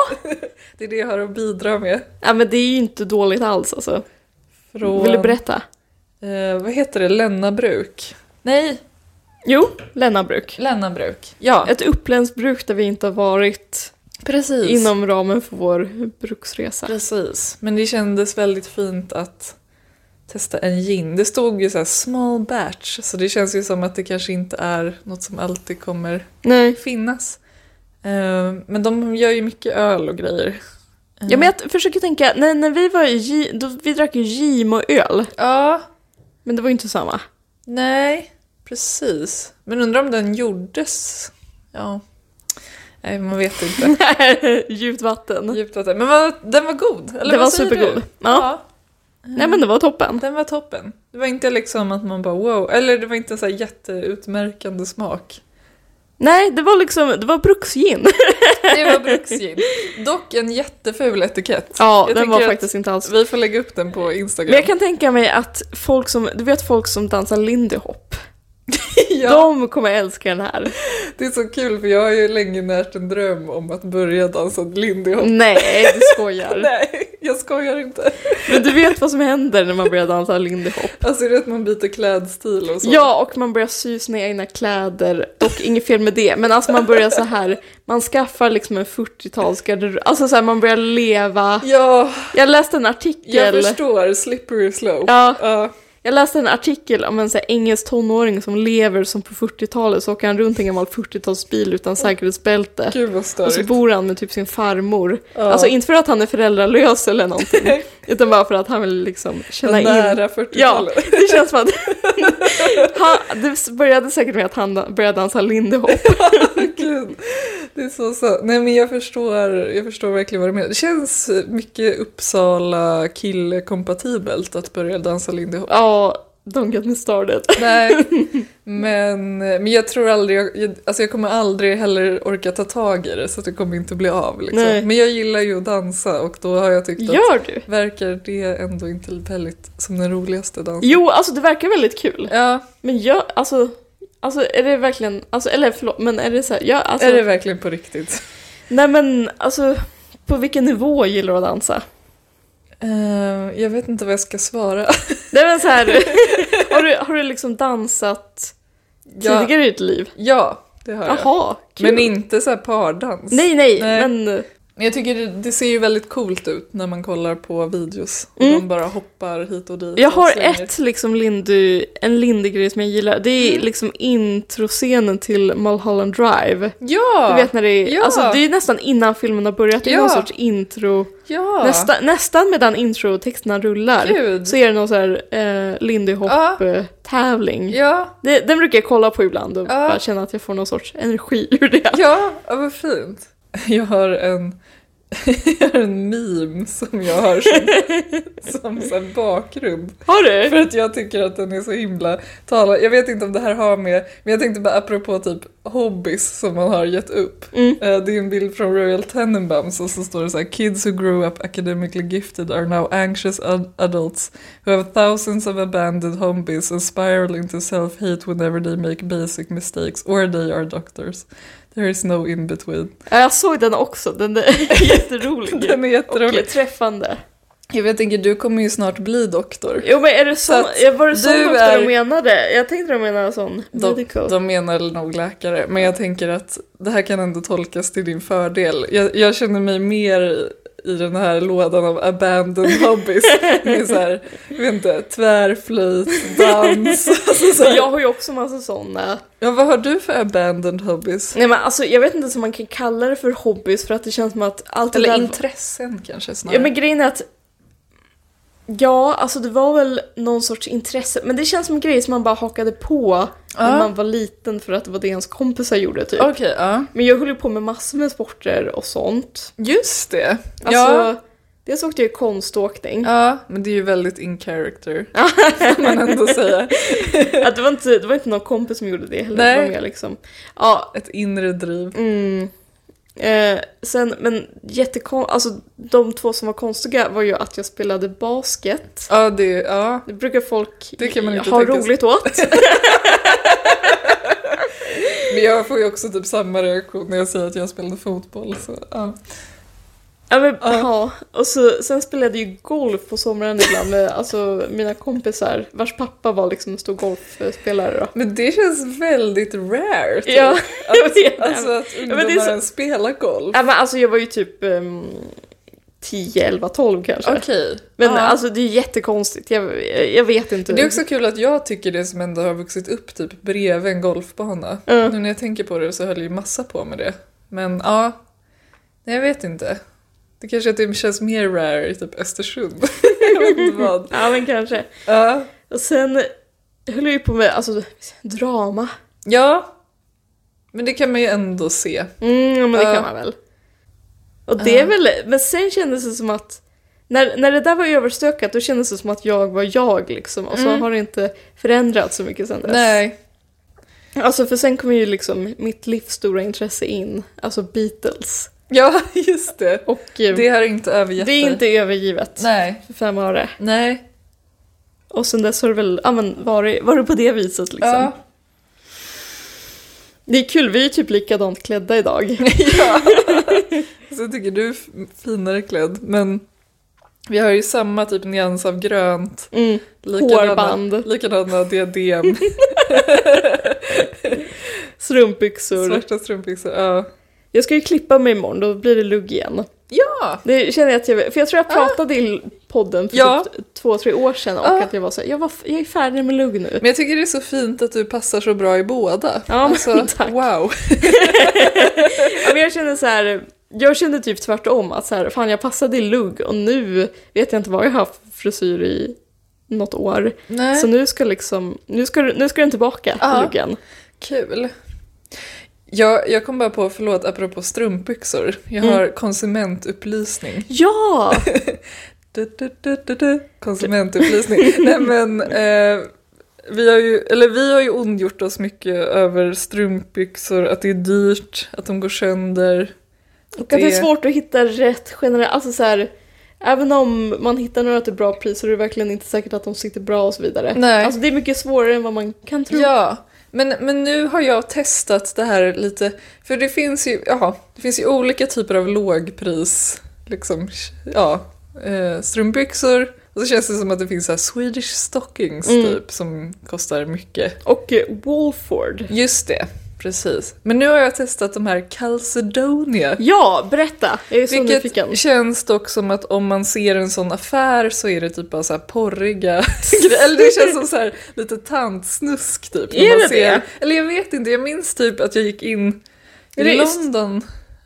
Speaker 2: Det är det jag har att bidra med.
Speaker 3: ja men det är ju inte dåligt alls alltså.
Speaker 2: Från,
Speaker 3: Vill du berätta?
Speaker 2: Eh, vad heter det? Lennabruk? Nej,
Speaker 3: Jo, Lennabruk.
Speaker 2: Lennabruk. Ja,
Speaker 3: Ett uppländskt bruk där vi inte har varit
Speaker 2: precis.
Speaker 3: inom ramen för vår bruksresa.
Speaker 2: Precis. Men det kändes väldigt fint att testa en gin. Det stod ju så här small batch, så det känns ju som att det kanske inte är något som alltid kommer
Speaker 3: Nej.
Speaker 2: finnas. Eh, Men de gör ju mycket öl och grejer. Eh,
Speaker 3: Ja, men jag försöker tänka, när, när vi var i Gi- då, vi drack ju gin och öl,
Speaker 2: Ja,
Speaker 3: men det var ju inte samma. [LAUGHS]
Speaker 2: nej, precis. Men undrar om den gjordes? Ja, nej man vet inte.
Speaker 3: Djupt vatten.
Speaker 2: Djupt att det- Men vad, den var god, eller
Speaker 3: det
Speaker 2: vad
Speaker 3: Mm. var
Speaker 2: säger
Speaker 3: supergod.
Speaker 2: Du?
Speaker 3: Ja. Nej men det var toppen.
Speaker 2: Den var toppen. Det var inte liksom att man bara wow, eller det var inte en så här jätteutmärkande
Speaker 3: [LAUGHS]
Speaker 2: smak.
Speaker 3: Nej, det var liksom, det var bruksgin.
Speaker 2: Det var bruksgin. Dock en jätteful etikett.
Speaker 3: [LAUGHS] Ja,
Speaker 2: Jag
Speaker 3: den var
Speaker 2: tänker att
Speaker 3: faktiskt inte alls...
Speaker 2: Vi får lägga upp den på Instagram.
Speaker 3: Men jag kan tänka mig att folk som, du vet folk som dansar lindy hop,
Speaker 2: [LAUGHS] ja,
Speaker 3: de kommer älska den [LAUGHS] här.
Speaker 2: Det är så kul för jag har ju länge närt en dröm om att börja dansa lindy hop.
Speaker 3: Nej, du skojar.
Speaker 2: [LAUGHS] Nej, jag skojar inte.
Speaker 3: Men du vet vad som händer när man börjar dansa lindy hop.
Speaker 2: Alltså det är att man byter klädstil och så.
Speaker 3: Ja, och man börjar sy sina egna kläder. Dock inget fel med det, men alltså man börjar så här, man skaffar liksom en 40-talsgarderob. Alltså så här, man börjar leva.
Speaker 2: Ja,
Speaker 3: Jag läste en artikel.
Speaker 2: jag förstår. Slippery slope.
Speaker 3: Ja.
Speaker 2: Ja.
Speaker 3: Jag läste en artikel om en så här engelsk tonåring som lever som på 40-talet så åker han runt i en gammal 40-talsbil utan säkerhetsbälte.
Speaker 2: Gud vad
Speaker 3: Och så
Speaker 2: störigt.
Speaker 3: bor han med typ sin farmor. Alltså inte för att han är föräldralös eller [LAUGHS] någonting. utan bara för att han vill liksom känna in.
Speaker 2: Nära
Speaker 3: Ja,
Speaker 2: 40-talet.
Speaker 3: det känns som att [LAUGHS] han, det började säkert med att han började dansa lindy hop.
Speaker 2: Gud, det är så sant. Nej men jag förstår, jag förstår verkligen vad du menar. Det känns mycket Uppsala kille-kompatibelt att börja dansa lindy hop.
Speaker 3: Ja, don't get me started.
Speaker 2: Nej, men, men jag tror aldrig, jag, jag- alltså jag kommer aldrig heller orka ta tag i det så att det kommer inte bli av. Liksom.
Speaker 3: Nej.
Speaker 2: Men jag gillar ju att dansa och då har jag tyckt att
Speaker 3: Gör du?
Speaker 2: verkar det ändå inte väldigt som den roligaste dansen.
Speaker 3: Jo, alltså det verkar väldigt kul.
Speaker 2: Ja,
Speaker 3: Men jag, alltså, alltså är det verkligen, alltså, eller förlåt, men är det så här, jag, alltså,
Speaker 2: är det verkligen på riktigt?
Speaker 3: Nej men alltså, på vilken nivå gillar du att dansa?
Speaker 2: Eh, jag vet inte vad jag ska svara.
Speaker 3: Nej men så här,
Speaker 2: [LAUGHS]
Speaker 3: har, du, har du liksom dansat
Speaker 2: Ja,
Speaker 3: tidigare i ditt liv?
Speaker 2: ja det har jag.
Speaker 3: Jaha, kul.
Speaker 2: Men inte så här pardans.
Speaker 3: nej, nej,
Speaker 2: Nej.
Speaker 3: men
Speaker 2: Men jag tycker det, det ser ju väldigt coolt ut när man kollar på videos. Och
Speaker 3: Mm.
Speaker 2: De bara hoppar hit och dit.
Speaker 3: jag
Speaker 2: och
Speaker 3: har
Speaker 2: svänger.
Speaker 3: ett liksom lindy, en lindy-grej som jag gillar. Det är
Speaker 2: Mm.
Speaker 3: liksom introscenen till Mulholland Drive.
Speaker 2: Ja!
Speaker 3: Du vet när det är,
Speaker 2: Ja.
Speaker 3: alltså det är nästan innan filmen har börjat, det är
Speaker 2: Ja.
Speaker 3: någon sorts intro.
Speaker 2: ja.
Speaker 3: Nästa, nästan medan introtexterna rullar
Speaker 2: Gud.
Speaker 3: så är det någon så här eh, lindy
Speaker 2: Ja.
Speaker 3: hop-tävling.
Speaker 2: Ja,
Speaker 3: Det, den brukar jag kolla på ibland och
Speaker 2: Ja.
Speaker 3: bara [LAUGHS] känna att jag får någon sorts energi ur det.
Speaker 2: [LAUGHS] ja, ja, vad fint. Jag har en [LAUGHS] Jag har en meme som jag har som,
Speaker 3: [LAUGHS]
Speaker 2: som så här bakgrund.
Speaker 3: Har du?
Speaker 2: För att jag tycker att den är så himla talande. Jag vet inte om det här har med, men jag tänkte bara apropå typ hobbies som man har gett upp.
Speaker 3: Mm.
Speaker 2: Eh, Det är en bild från Royal Tenenbaums och så står det så här Kids who grew up academically gifted are now anxious ad- adults who have thousands of abandoned hobbies and spiral into self-hate whenever they make basic mistakes or they are doctors. There is no in between.
Speaker 3: Ja, jag såg den också, den är [LAUGHS] jätterolig.
Speaker 2: Den är jätterolig.
Speaker 3: Och träffande.
Speaker 2: Jag vet inte, du kommer ju snart bli doktor.
Speaker 3: Jo men är det så?
Speaker 2: Så att
Speaker 3: var det sån
Speaker 2: du
Speaker 3: doktor
Speaker 2: är-
Speaker 3: de menade? Jag tänkte de menade sån.
Speaker 2: De,
Speaker 3: medical.
Speaker 2: de menar nog läkare, men jag tänker att det här kan ändå tolkas till din fördel. Jag, jag känner mig mer i den här lådan av
Speaker 3: [LAUGHS]
Speaker 2: abandoned hobbies. med så här, jag vet inte, tvärflöjt,
Speaker 3: [LAUGHS]
Speaker 2: dans. Alltså så här.
Speaker 3: Jag har ju också massa såna.
Speaker 2: Ja, vad har du för abandoned hobbies?
Speaker 3: Nej men alltså jag vet inte ens om man kan kalla det för hobbies för att det känns som att allt det
Speaker 2: Eller
Speaker 3: där...
Speaker 2: intressen kanske snarare.
Speaker 3: Ja men grejen är att... Ja, alltså det var väl någon sorts intresse, men det känns som en grej som man bara hakade på när
Speaker 2: Ja.
Speaker 3: man var liten för att det var det ens kompisar gjorde typ.
Speaker 2: Okej, ja.
Speaker 3: Men jag höll ju på med massor med sporter och sånt.
Speaker 2: Just det.
Speaker 3: Alltså,
Speaker 2: ja.
Speaker 3: dels åkte jag ju konståkning.
Speaker 2: ja, men det är ju väldigt in character.
Speaker 3: [LAUGHS]
Speaker 2: kan man ändå säga.
Speaker 3: Att det, var inte, det var inte någon kompis som gjorde det heller.
Speaker 2: Nej.
Speaker 3: Det var mer liksom. Ja,
Speaker 2: Ett inre driv.
Speaker 3: mm. eh, sen, men jättekon... Alltså de två som var konstiga var ju att jag spelade basket.
Speaker 2: Ja, det är, ja.
Speaker 3: Det brukar folk
Speaker 2: Det kan man inte
Speaker 3: ha
Speaker 2: tänka sig. [LAUGHS]
Speaker 3: roligt åt.
Speaker 2: Men jag får ju också typ samma reaktion när jag säger att jag spelade fotboll. Så, ja.
Speaker 3: Ja, men,
Speaker 2: Ja.
Speaker 3: ja. Och så, sen spelade jag ju golf på sommaren ibland med alltså, mina kompisar vars pappa var liksom en stor golfspelare. Då.
Speaker 2: Men det känns väldigt rare. typ.
Speaker 3: Ja,
Speaker 2: [LAUGHS]
Speaker 3: jag vet.
Speaker 2: Att, alltså att
Speaker 3: men det är
Speaker 2: ungdomar
Speaker 3: så-
Speaker 2: ens spelar golf.
Speaker 3: Ja, men, alltså, jag var ju typ um, 10, 11, 12 kanske.
Speaker 2: Okej.
Speaker 3: Men
Speaker 2: ja.
Speaker 3: alltså det är jättekonstigt, jag, jag vet inte.
Speaker 2: Det är också kul att jag tycker det som ändå har vuxit upp typ bredvid en golfbana.
Speaker 3: Ja.
Speaker 2: Nu när jag tänker på det så höll ju massa på med det. Men ja, nej, jag vet inte. Det kanske att det känns mer rare i typ Östersund. [LAUGHS] jag vet inte [LAUGHS] vad.
Speaker 3: Ja men kanske.
Speaker 2: Ja.
Speaker 3: Och sen höll jag ju på med alltså, drama.
Speaker 2: ja, men det kan man ju ändå se.
Speaker 3: Mm, men det
Speaker 2: Ja.
Speaker 3: kan man väl. Och det är väl, men sen kändes det som att när, när det där var överstökat då kändes det som att jag var jag liksom och så
Speaker 2: Mm.
Speaker 3: har det inte förändrats så mycket sen dess.
Speaker 2: Nej,
Speaker 3: Alltså för sen kom ju liksom mitt livs stora intresse in, alltså Beatles.
Speaker 2: ja [LAUGHS] just det.
Speaker 3: Och eh,
Speaker 2: Det har inte övergett
Speaker 3: det är inte övergivet
Speaker 2: Nej.
Speaker 3: för fem öre.
Speaker 2: Nej.
Speaker 3: Och sen dess har det väl, ja men var det, var det på det viset liksom.
Speaker 2: Ja.
Speaker 3: [LAUGHS] Det är kul, vi är ju typ likadant klädda idag.
Speaker 2: [LAUGHS] Så jag tycker du är f- finare klädd. Men vi har ju samma typ nyans av grönt.
Speaker 3: Mm. Hårband.
Speaker 2: Likadana
Speaker 3: [LAUGHS]
Speaker 2: diadem.
Speaker 3: Strumpbyxor.
Speaker 2: svarta strumpbyxor. Ja.
Speaker 3: Jag ska ju klippa mig imorgon, då blir det lugg igen.
Speaker 2: Ja!
Speaker 3: Det känner jag att jag, för jag tror jag pratade i podden för
Speaker 2: Ah. Ja.
Speaker 3: typ två, tre år sedan och
Speaker 2: Ja.
Speaker 3: att jag var så här, jag, var, f- jag är färdig med lugg nu.
Speaker 2: Men jag tycker det är så fint att du passar så bra i båda.
Speaker 3: Ja, men
Speaker 2: Alltså.
Speaker 3: [LAUGHS] tack.
Speaker 2: Wow.
Speaker 3: Ja, Men jag kände så här, jag kände typ tvärtom att så här, fan jag passade i lugg och nu vet jag inte vad jag har haft för frisyr i något år.
Speaker 2: Nej. Ah.
Speaker 3: Så nu ska liksom, nu ska, nu ska den tillbaka,
Speaker 2: Ja.
Speaker 3: luggen.
Speaker 2: Kul. Jag, jag kom bara på, förlåt, apropå strumpbyxor. Jag
Speaker 3: Mm.
Speaker 2: har konsumentupplysning.
Speaker 3: Ja!
Speaker 2: Du, du, du, du, du. Konsumentupplysning. [LAUGHS] Nej men, eh, vi, har ju, eller vi har ju ondgjort oss mycket över strumpbyxor, att det är dyrt, att de går sönder.
Speaker 3: Och att det är svårt att hitta rätt generellt. Alltså så här, även om man hittar några till bra pris så är det verkligen inte säkert att de sitter bra och så vidare.
Speaker 2: Nej.
Speaker 3: Alltså det är mycket svårare än vad man kan tro.
Speaker 2: Ja, men, men nu har jag testat det här lite, för det finns ju, ja, det finns ju olika typer av lågpris, liksom, ja, eh, strumpbyxor. Och så känns det som att det finns så här Swedish stockings
Speaker 3: Mm.
Speaker 2: typ som kostar mycket.
Speaker 3: Och eh, Walford.
Speaker 2: Just det, precis. Men nu har jag testat de här Calcedonia.
Speaker 3: Ja, berätta! Jag är så nyfiken.
Speaker 2: Vilket känns dock som att om man ser en sån affär så är det typ bara så här
Speaker 3: [LAUGHS]
Speaker 2: porriga grejer. Eller det känns som så här lite tantsnusk typ. när
Speaker 3: Är
Speaker 2: man
Speaker 3: det
Speaker 2: ser.
Speaker 3: det?
Speaker 2: Eller jag vet inte, jag minns typ att jag gick in
Speaker 3: Är
Speaker 2: i
Speaker 3: det just-
Speaker 2: London.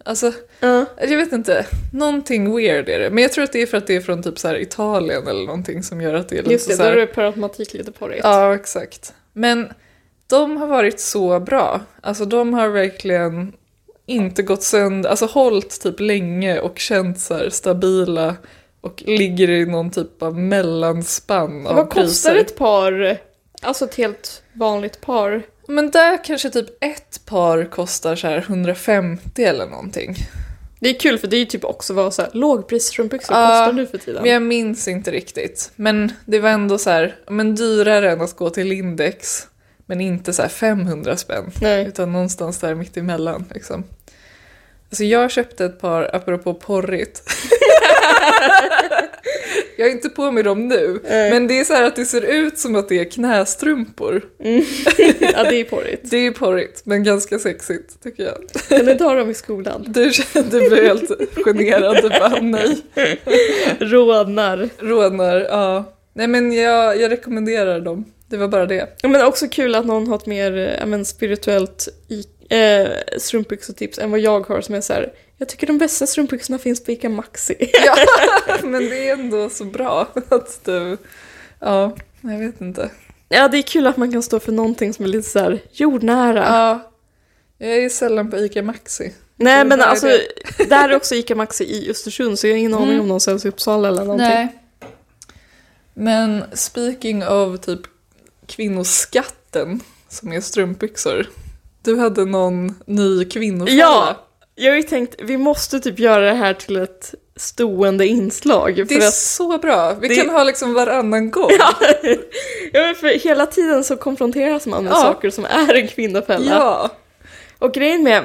Speaker 2: Alltså,
Speaker 3: Ja.
Speaker 2: jag vet inte. Någonting weird är det. Men jag tror att det är för att det är från typ så här Italien eller någonting som gör att det är lite
Speaker 3: Just det,
Speaker 2: så
Speaker 3: då
Speaker 2: här...
Speaker 3: är det per automatik lite porrigt.
Speaker 2: Ja, exakt. Men de har varit så bra. Alltså de har verkligen inte gått sönder, alltså hållt typ länge och känt så här stabila och ligger i någon typ av mellanspann av
Speaker 3: Vad kostar
Speaker 2: priser.
Speaker 3: ett par, alltså ett helt vanligt par?
Speaker 2: Men där kanske typ ett par kostar så här 150 eller någonting.
Speaker 3: Det är kul för det är ju typ också vad så här, lågprisstrumpbyxor
Speaker 2: Ja,
Speaker 3: kostar nu för tiden.
Speaker 2: Men jag minns inte riktigt. Men det var ändå så här, men dyrare än att gå till Lindex. Men inte så här 500 spänn.
Speaker 3: Nej.
Speaker 2: Utan någonstans där mitt emellan liksom. Alltså jag köpte ett par, apropå porrigt. [LAUGHS] jag är inte på mig dem nu.
Speaker 3: Nej.
Speaker 2: Men det är så här att det ser ut som att det är knästrumpor.
Speaker 3: Ja, det är porrigt.
Speaker 2: Det är porrigt, men ganska sexigt tycker jag.
Speaker 3: Men det tar de i skolan.
Speaker 2: Du, du blev helt generad. Du bara, nej.
Speaker 3: Rånar.
Speaker 2: [LAUGHS] Rånar, ja. Nej men jag, jag rekommenderar dem. Det var bara
Speaker 3: [LAUGHS]
Speaker 2: det. [LAUGHS]
Speaker 3: Ja, Men också kul att någon har ett mer eh, ja, men, spirituellt i, eh, strumpbyxotips än vad jag har som är så här. Jag tycker de bästa strumpbyxorna finns på Ica Maxi. [LAUGHS]
Speaker 2: Ja, men det är ändå så bra att du... Ja, jag vet inte.
Speaker 3: Ja, det är kul att man kan stå för någonting som är lite så här jordnära.
Speaker 2: Ja. Jag är sällan på ICA Maxi.
Speaker 3: Nej,
Speaker 2: det
Speaker 3: men
Speaker 2: var
Speaker 3: alltså,
Speaker 2: det.
Speaker 3: [LAUGHS]
Speaker 2: Mm.
Speaker 3: där är också Ica Maxi i Östersund så jag har ingen aning om de säljs i Uppsala eller någonting.
Speaker 2: Men speaking of typ kvinnoskatten som är strumpbyxor. Du hade någon ny kvinnofälla.
Speaker 3: Ja, jag har ju tänkt vi måste typ göra det här till ett stående inslag.
Speaker 2: Det
Speaker 3: för
Speaker 2: är
Speaker 3: att [LAUGHS]
Speaker 2: så bra. Vi
Speaker 3: det-
Speaker 2: kan ha liksom varannan gång.
Speaker 3: Ja, men för hela tiden så konfronteras man med
Speaker 2: Ja.
Speaker 3: saker som är en kvinnofälla.
Speaker 2: ja.
Speaker 3: Och grejen med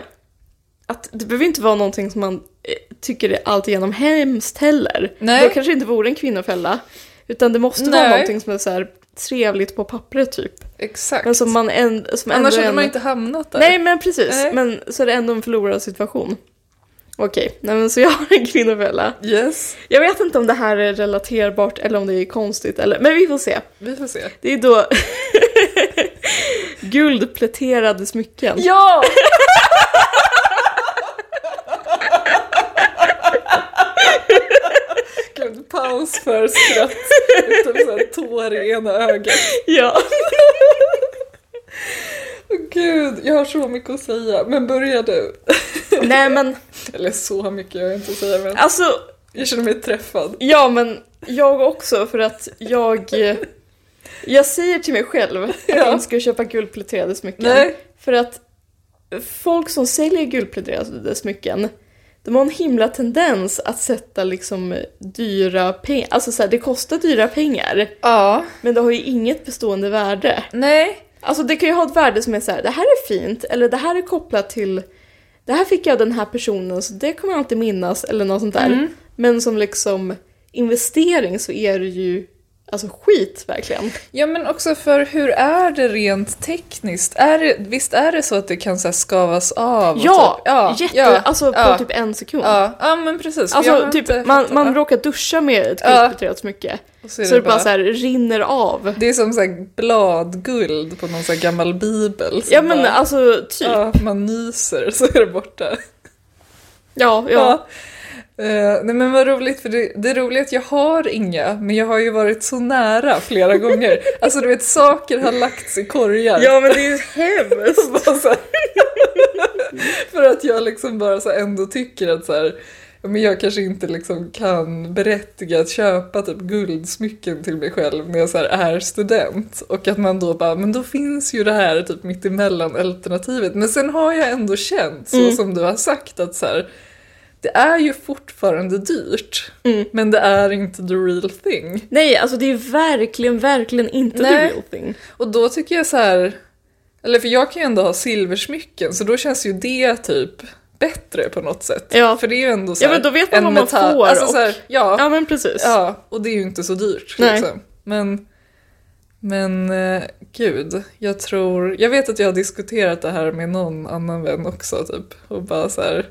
Speaker 3: att det behöver inte vara någonting som man eh, tycker är alltigenom hemskt heller.
Speaker 2: Nej.
Speaker 3: Då kanske det inte vore en kvinnofälla. Utan det måste vara
Speaker 2: Nej.
Speaker 3: någonting som är så här trevligt på pappret typ.
Speaker 2: Exakt.
Speaker 3: Men som man en, som
Speaker 2: Annars
Speaker 3: ändå är
Speaker 2: hade
Speaker 3: en-
Speaker 2: man inte hamnat där.
Speaker 3: Nej men precis,
Speaker 2: Nej.
Speaker 3: men så är det ändå en förlorad situation. Okej, nej men så jag har en kvinnofälla.
Speaker 2: Yes.
Speaker 3: Jag vet inte om det här är relaterbart eller om det är konstigt, eller, men vi får se.
Speaker 2: Vi får se.
Speaker 3: Det är då [LAUGHS] guldpläterade smycken.
Speaker 2: Ja! Gud, paus för skratt. Utom så här tår i ena ögat.
Speaker 3: Ja.
Speaker 2: Åh, Gud, jag har så mycket att säga. Men börja du.
Speaker 3: [LAUGHS] Nej men
Speaker 2: Eller så mycket jag har inte att säga men
Speaker 3: alltså,
Speaker 2: jag känner mig träffad.
Speaker 3: ja men jag också för att jag... Jag säger till mig själv att jag
Speaker 2: Ja.
Speaker 3: inte ska köpa guldpläterade smycken.
Speaker 2: Nej.
Speaker 3: För att folk som säljer guldpläderade smycken, de har en himla tendens att sätta liksom dyra pengar, alltså så här, det kostar dyra pengar,
Speaker 2: Ja.
Speaker 3: men det har ju inget bestående värde.
Speaker 2: Nej.
Speaker 3: Alltså det kan ju ha ett värde som är så här, det här är fint, eller det här är kopplat till, det här fick jag av den här personen så det kommer jag alltid minnas, eller något sånt där. Men som liksom investering så är det ju alltså skit verkligen.
Speaker 2: Ja men också för hur är det rent tekniskt? Är det, visst är det så att det kan så här skavas av? och
Speaker 3: Ja,
Speaker 2: typ, ja,
Speaker 3: jätte,
Speaker 2: ja,
Speaker 3: alltså på
Speaker 2: ja,
Speaker 3: typ en sekund.
Speaker 2: Ja, ja men precis. för jag
Speaker 3: Alltså
Speaker 2: har
Speaker 3: typ,
Speaker 2: inte
Speaker 3: man,
Speaker 2: fattat-
Speaker 3: man råkar duscha med ett
Speaker 2: Ja.
Speaker 3: guldpläterat smycke.
Speaker 2: Och
Speaker 3: Så, det bara, så här, rinner av.
Speaker 2: Det är som så här bladguld på någon så här gammal bibel. som
Speaker 3: Ja men
Speaker 2: bara,
Speaker 3: alltså typ. Ja,
Speaker 2: ja, man nyser så är det borta.
Speaker 3: ja.
Speaker 2: Ja. Eh, nej men vad roligt, för det, det roliga är att jag har inga, men jag har ju varit så nära flera
Speaker 3: [LAUGHS]
Speaker 2: gånger. Alltså du vet, saker har lagts i korgar.
Speaker 3: men det är ju hemskt.
Speaker 2: Bara så här. [LAUGHS] För att jag liksom bara så här ändå tycker att så här, ja, men jag kanske inte liksom kan berättiga att köpa typ guldsmycken till mig själv när jag så här är student. Och att man då bara, men då finns ju det här typ mittemellan alternativet. Men sen har jag ändå känt, så som du har sagt, att så här, det är ju fortfarande dyrt, men det är inte the real thing.
Speaker 3: Nej alltså det är verkligen, verkligen inte
Speaker 2: Nej.
Speaker 3: the real thing.
Speaker 2: Och då tycker jag så här, eller för jag kan ju ändå ha silversmycken så då känns ju det typ bättre på något sätt.
Speaker 3: Ja.
Speaker 2: För det är ju ändå så
Speaker 3: Ja,
Speaker 2: här,
Speaker 3: men då vet man
Speaker 2: en
Speaker 3: vad man
Speaker 2: metall-
Speaker 3: får
Speaker 2: Alltså
Speaker 3: och-
Speaker 2: så här, ja,
Speaker 3: Ja men precis.
Speaker 2: ja, och det är ju inte så dyrt
Speaker 3: Nej.
Speaker 2: liksom. Men, men eh, gud, jag tror, jag vet att jag har diskuterat det här med någon annan vän också typ och bara så här,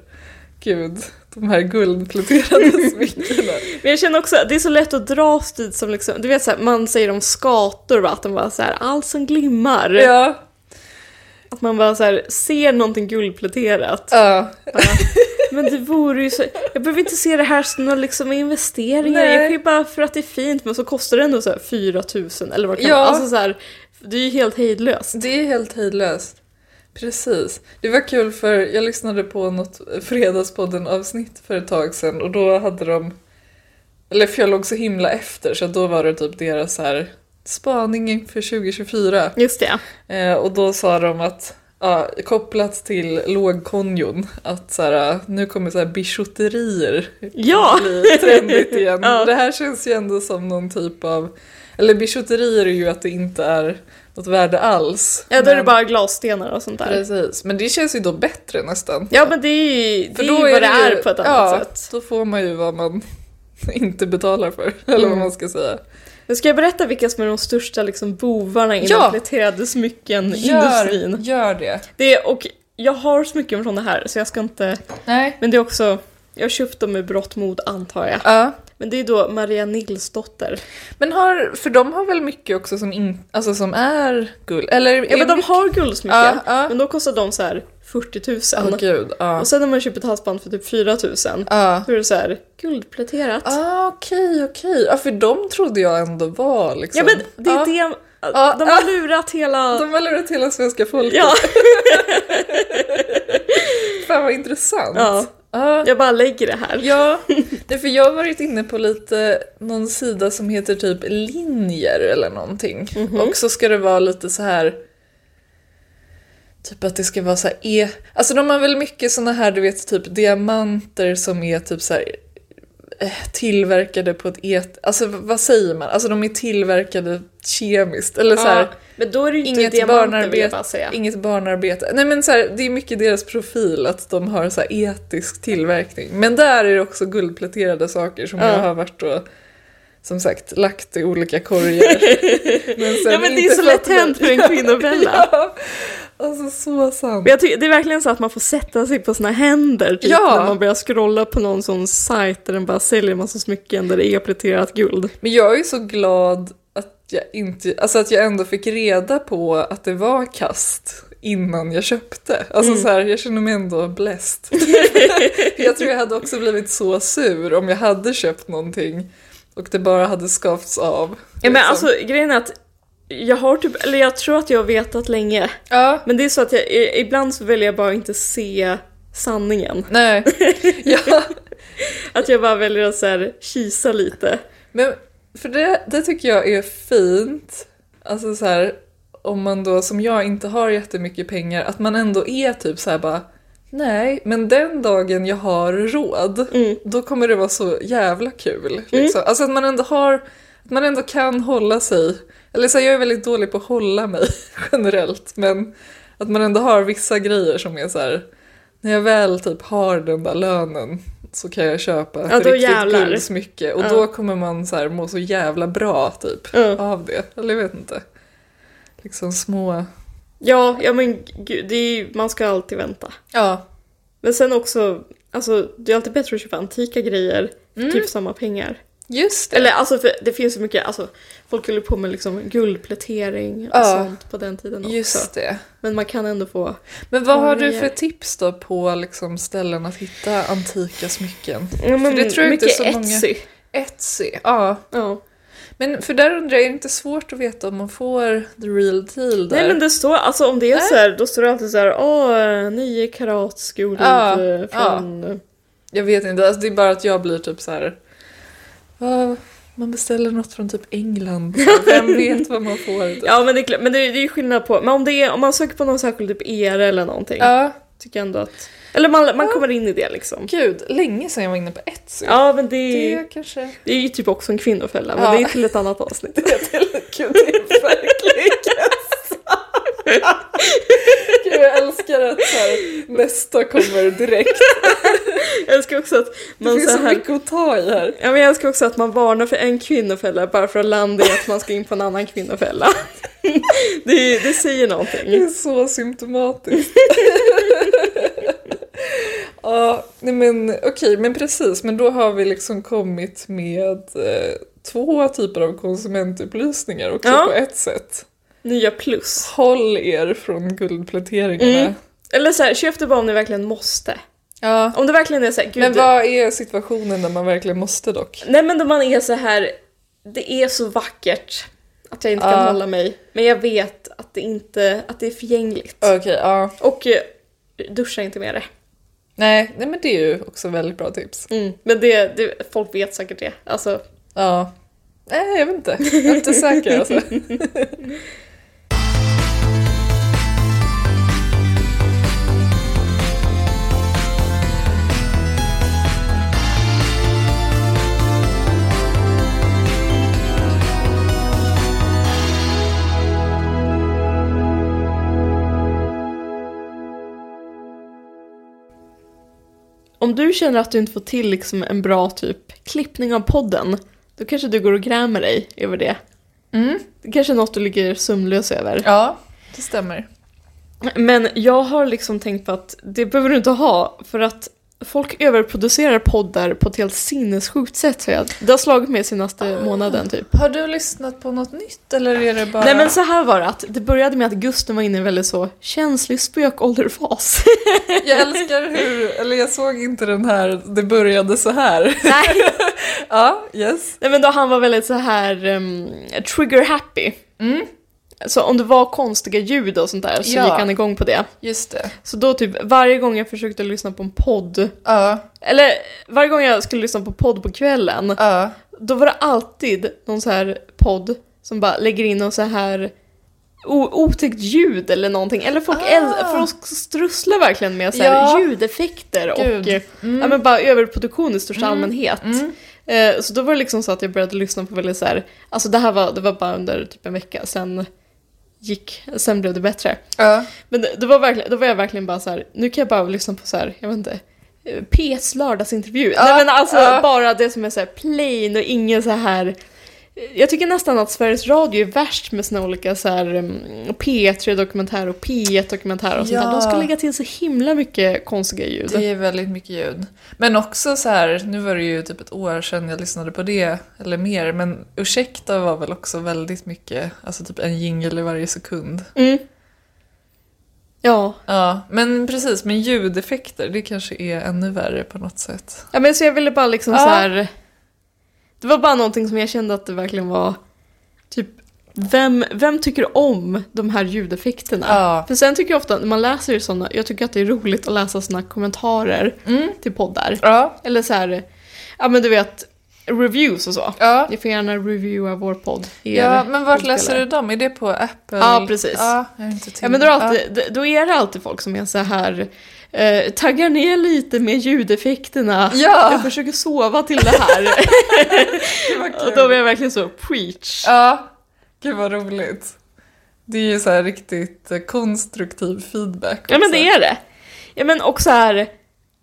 Speaker 2: gud, de här
Speaker 3: [LAUGHS]
Speaker 2: guldpläterade smyckena.
Speaker 3: Men jag känner också att det är så lätt att dras dit som liksom, du vet såhär, man säger om skator va, att de bara såhär, allt som glimmar.
Speaker 2: ja,
Speaker 3: Att man bara såhär, ser någonting guldpläterat.
Speaker 2: ja,
Speaker 3: Men det vore ju så... Jag behöver inte se det här som några liksom investeringar.
Speaker 2: Nej.
Speaker 3: Jag kan ju bara för att det är fint men så kostar det ändå så här 4 000 eller vad det kan
Speaker 2: Ja.
Speaker 3: vara. Alltså så här, det är ju helt hejdlöst.
Speaker 2: Det är helt hejdlöst. Precis. Det var kul för jag lyssnade på något Fredagspodden avsnitt för ett tag sedan och då hade de, eller för jag låg så himla efter så då var det typ deras så här spaning inför 2024.
Speaker 3: Just det.
Speaker 2: Eh, och då sa de att, ja, kopplat till lågkonjon, att så här, nu kommer så här bijouterier
Speaker 3: Ja!
Speaker 2: bli trendigt igen.
Speaker 3: Ja.
Speaker 2: Det här känns ju ändå som någon typ av, eller bijouterier är ju att det inte är något värde alls.
Speaker 3: [LAUGHS] Ja, då är det
Speaker 2: Men-
Speaker 3: bara glasstenar och sånt där.
Speaker 2: Precis, men det känns ju då bättre nästan.
Speaker 3: Ja, men det är ju, det är ju vad det är
Speaker 2: ju-
Speaker 3: på ett annat
Speaker 2: ja,
Speaker 3: sätt.
Speaker 2: då får man ju vad man [LAUGHS] inte betalar för, eller
Speaker 3: Mm.
Speaker 2: vad man ska säga.
Speaker 3: Nu ska jag berätta vilka som är de största liksom, bovarna inom
Speaker 2: Ja.
Speaker 3: pläterade smycken-industrin.
Speaker 2: Gör, gör det.
Speaker 3: Det är, och jag har smycken från det här, så jag ska inte...
Speaker 2: Nej.
Speaker 3: Men det är också... Jag har köpt dem med brott mod, antar jag.
Speaker 2: Ja.
Speaker 3: Men det är då Maria Nilsdotter.
Speaker 2: Men har, för de har väl mycket också som, in, alltså som är guld? Eller
Speaker 3: Ja, men de har guldsmycken,
Speaker 2: Ja, ja.
Speaker 3: men då kostar de så här 40 000.
Speaker 2: Åh gud, ja.
Speaker 3: Och sen när man köper ett halsband för typ 4 000,
Speaker 2: Ja.
Speaker 3: då är det så här guldpläterat.
Speaker 2: Ah, okej, okej. Ja, för de trodde jag ändå var liksom...
Speaker 3: Ja men det är
Speaker 2: Ja.
Speaker 3: det,
Speaker 2: Ja,
Speaker 3: de
Speaker 2: ja.
Speaker 3: har lurat hela...
Speaker 2: De har lurat hela svenska folket.
Speaker 3: Ja,
Speaker 2: Fan vad intressant.
Speaker 3: Ja.
Speaker 2: Ja.
Speaker 3: jag bara lägger det här.
Speaker 2: Ja, nej, för jag har varit inne på lite någon sida som heter typ linjer eller någonting. Och så ska det vara lite så här Typ att det ska vara så här e... Alltså de har väl mycket såna här du vet typ diamanter som är typ så här eh, tillverkade på ett et... Alltså v- vad säger man? Alltså de är tillverkade kemiskt eller så här.
Speaker 3: Ja, men då är det ju inte
Speaker 2: Inget
Speaker 3: diamanter vill jag bara
Speaker 2: barnarbete,
Speaker 3: säga.
Speaker 2: inget barnarbete. Nej men så här, det är mycket deras profil att de har så här etisk tillverkning. Men där är det också guldpläterade saker som
Speaker 3: Ja.
Speaker 2: jag har varit och som sagt lagt i olika
Speaker 3: [LAUGHS]
Speaker 2: korgar. men sen
Speaker 3: Ja men det är
Speaker 2: inte
Speaker 3: så
Speaker 2: fått
Speaker 3: lätt hänt för en kvinnovänna.
Speaker 2: [LAUGHS] ja. Alltså så sant.
Speaker 3: Men jag tycker, det är verkligen så att man får sätta sig på sina händer typ,
Speaker 2: Ja.
Speaker 3: när man börjar scrolla på någon sån sajt där den bara säljer en massa smycken där det är pläterat guld.
Speaker 2: Men jag är så glad att jag, inte, alltså att jag ändå fick reda på att det var kast innan jag köpte. Alltså
Speaker 3: Mm.
Speaker 2: så här, jag känner mig ändå bläst.
Speaker 3: [LAUGHS]
Speaker 2: jag tror jag hade också blivit så sur om jag hade köpt någonting och det bara hade skavts av.
Speaker 3: Ja, men
Speaker 2: liksom.
Speaker 3: alltså grejen är att jag har typ, eller jag tror att jag har vetat länge.
Speaker 2: ja.
Speaker 3: Men det är så att jag, i- ibland så väljer jag bara att inte se sanningen. [LAUGHS]
Speaker 2: Nej. ja.
Speaker 3: Att jag bara väljer att så här, kisa lite.
Speaker 2: Men för det, det tycker jag är fint. Alltså så här, om man då som jag inte har jättemycket pengar, att man ändå är typ så här bara Nej, men den dagen jag har råd,
Speaker 3: Mm.
Speaker 2: då kommer det vara så jävla kul. Liksom. Alltså att man ändå har, att man ändå kan hålla sig. Eller så här, jag är väldigt dålig på att hålla mig [LAUGHS] generellt, men att man ändå har vissa grejer som är så här, när jag väl typ har den där lönen så kan jag köpa ett
Speaker 3: Ja, då
Speaker 2: riktigt
Speaker 3: jävlar.
Speaker 2: guld så mycket och
Speaker 3: Ja.
Speaker 2: då kommer man så här må så jävla bra typ
Speaker 3: Ja.
Speaker 2: av det. Eller jag vet inte. Liksom små...
Speaker 3: Ja, ja men gud, det är, ju- man ska alltid vänta.
Speaker 2: Ja.
Speaker 3: Men sen också, alltså det är alltid bättre att köpa antika grejer för typ samma pengar.
Speaker 2: Just det.
Speaker 3: Eller alltså för det finns ju mycket, alltså folk höll ju på med liksom guldplätering och
Speaker 2: Ja.
Speaker 3: sånt på den tiden också.
Speaker 2: Just det.
Speaker 3: Men man kan ändå få,
Speaker 2: Men vad har du
Speaker 3: Korgar.
Speaker 2: för tips då på liksom ställen att hitta antika smycken?
Speaker 3: ja, men
Speaker 2: för det tror jag inte
Speaker 3: mycket
Speaker 2: så
Speaker 3: Etsy.
Speaker 2: många... Etsy. Ja.
Speaker 3: Ja.
Speaker 2: Men för där undrar jag, är det inte svårt att veta om man får the real deal där?
Speaker 3: Nej men det står, alltså om det är
Speaker 2: Nej.
Speaker 3: så här, då står det alltid så här, åh, nio karats guld
Speaker 2: Ja,
Speaker 3: eh, från...
Speaker 2: Jag vet inte, alltså det är bara att jag blir typ så här. "Va, man beställer något från typ [LAUGHS] England. Vem vet vad man får? Typ.
Speaker 3: Ja men det är klart, men det är det är ju skillnad på, men om, det är, om man söker på någon särskild typ ER eller någonting,
Speaker 2: Ja,
Speaker 3: tycker jag ändå att... Eller man, man kommer in i det liksom.
Speaker 2: gud, länge sedan jag var inne på Etsy.
Speaker 3: Ja men det,
Speaker 2: Det kanske...
Speaker 3: det är ju typ också en kvinnofälla, men
Speaker 2: Ja.
Speaker 3: [LAUGHS] det är till ett annat avsnitt. [LAUGHS]
Speaker 2: Gud, det är verkligen sant. [LAUGHS] Gud, jag älskar att så här, nästa kommer direkt.
Speaker 3: Jag älskar också att
Speaker 2: Det
Speaker 3: man
Speaker 2: finns
Speaker 3: så
Speaker 2: så
Speaker 3: här... Mm.
Speaker 2: mycket att ta i här.
Speaker 3: Ja, men jag älskar också att man varnar för en kvinnofälla bara för att landa i att man ska in på en annan kvinnofälla. [LAUGHS] det, är- det säger
Speaker 2: Det är
Speaker 3: någonting.
Speaker 2: så
Speaker 3: [LAUGHS]
Speaker 2: symptomatiskt. ja, nej men okej, men precis. Men då har vi liksom kommit med eh, två typer av konsumentupplysningar också
Speaker 3: Ja.
Speaker 2: på ett sätt.
Speaker 3: Nya plus.
Speaker 2: Håll er från guldpläteringarna.
Speaker 3: Mm. Eller så här, köp det bara om ni verkligen måste.
Speaker 2: Ja.
Speaker 3: Om det verkligen är så här, gud,
Speaker 2: Men vad är situationen där man verkligen måste dock?
Speaker 3: Nej men då man är så här, det är så vackert. Att jag inte kan
Speaker 2: Ja.
Speaker 3: hålla mig. Men jag vet att det, inte, att det är förgängligt.
Speaker 2: Okej, ja.
Speaker 3: Och eh, duscha inte med det.
Speaker 2: Nej, nej, men det är ju också väldigt bra tips.
Speaker 3: Mm. Men det, det, folk vet säkert det. Alltså,
Speaker 2: Ja. Nej, jag vet inte. Jag är inte säker alltså.
Speaker 3: om du känner att du inte får till liksom en bra typ klippning av podden, då kanske du går och grämer dig över det.
Speaker 2: Mm.
Speaker 3: Det kanske är något du ligger sömnlös över.
Speaker 2: Ja, det stämmer.
Speaker 3: Men jag har liksom tänkt på att det behöver du inte ha för att folk överproducerar poddar på ett helt sinnessjukt sätt. Så jag, det har slagit mig senaste månaden typ.
Speaker 2: Har du lyssnat på något nytt eller är det bara...
Speaker 3: Nej men så här var det att det började med att Gusten var inne i en väldigt så känslig spökålderfas.
Speaker 2: Jag älskar hur, eller jag såg inte den här, det började så här.
Speaker 3: [LAUGHS] Nej.
Speaker 2: Ja, yes.
Speaker 3: Nej men då han var väldigt så här ehm, trigger happy. Så om det var konstiga ljud och sånt där så
Speaker 2: Ja.
Speaker 3: gick han igång på det.
Speaker 2: Just det.
Speaker 3: Så då typ varje gång jag försökte lyssna på en podd,
Speaker 2: Ja,
Speaker 3: eller varje gång jag skulle lyssna på podd på kvällen
Speaker 2: ja.
Speaker 3: Då var det alltid någon så här podd som bara lägger in någon så här o- otäckt ljud eller någonting. Eller folk,
Speaker 2: Ah.
Speaker 3: äl- folk strusslar verkligen med så här
Speaker 2: Ja.
Speaker 3: ljudeffekter och
Speaker 2: Gud.
Speaker 3: eh, ja, men bara överproduktion i största allmänhet.
Speaker 2: Mm.
Speaker 3: Eh, så då var det liksom så att jag började lyssna på väldigt så här, alltså det här var, det var bara under typ en vecka, sen gick, sen blev det bättre.
Speaker 2: Ja.
Speaker 3: Men det, det var verkligen, då var jag verkligen bara så här, nu kan jag bara lyssna på så här, jag vet inte, eh, P's lördagsintervju.
Speaker 2: Ja,
Speaker 3: Nej men alltså
Speaker 2: ja.
Speaker 3: bara det som är så här plain och ingen så här eh, jag tycker nästan att Sveriges Radio är värst med sina olika så här, mm, P3-dokumentärer och P1-dokumentärer och sånt där.
Speaker 2: Ja.
Speaker 3: De ska lägga till så himla mycket konstiga ljud.
Speaker 2: Det är väldigt mycket ljud. Men också så här, nu var det ju typ ett år sedan jag lyssnade på det, eller mer, men ursäkta var väl också väldigt mycket, alltså typ en jingle i varje sekund.
Speaker 3: Mm. Ja.
Speaker 2: Ja, men precis, men ljudeffekter, det kanske är ännu värre på något sätt.
Speaker 3: ja, men så jag ville bara liksom
Speaker 2: Ja.
Speaker 3: så här. Det var bara någonting som jag kände att det verkligen var typ vem, vem tycker om de här ljudeffekterna?
Speaker 2: Ja.
Speaker 3: För sen tycker jag ofta när man läser sådana, jag tycker att det är roligt att läsa sådana kommentarer
Speaker 2: Mm.
Speaker 3: till poddar.
Speaker 2: Ja,
Speaker 3: Eller så här, ja men du vet, reviews och så.
Speaker 2: ja.
Speaker 3: Ni får gärna reviewa vår podd. i
Speaker 2: Ja,
Speaker 3: er
Speaker 2: men vart
Speaker 3: poddspelare.
Speaker 2: läser du dem? Är det på Apple?
Speaker 3: Ja, precis.
Speaker 2: Ja, jag är inte till-
Speaker 3: Ja men då är, det alltid, då är det alltid folk som är så här eh, taggar ner lite med ljudeffekterna.
Speaker 2: Ja.
Speaker 3: Jag försöker sova till det [LAUGHS] här. och då är jag verkligen så preach.
Speaker 2: Ja, gud vad roligt. Det är ju så här riktigt eh, konstruktiv feedback.
Speaker 3: Ja men
Speaker 2: också.
Speaker 3: det är det. Ja men och så här,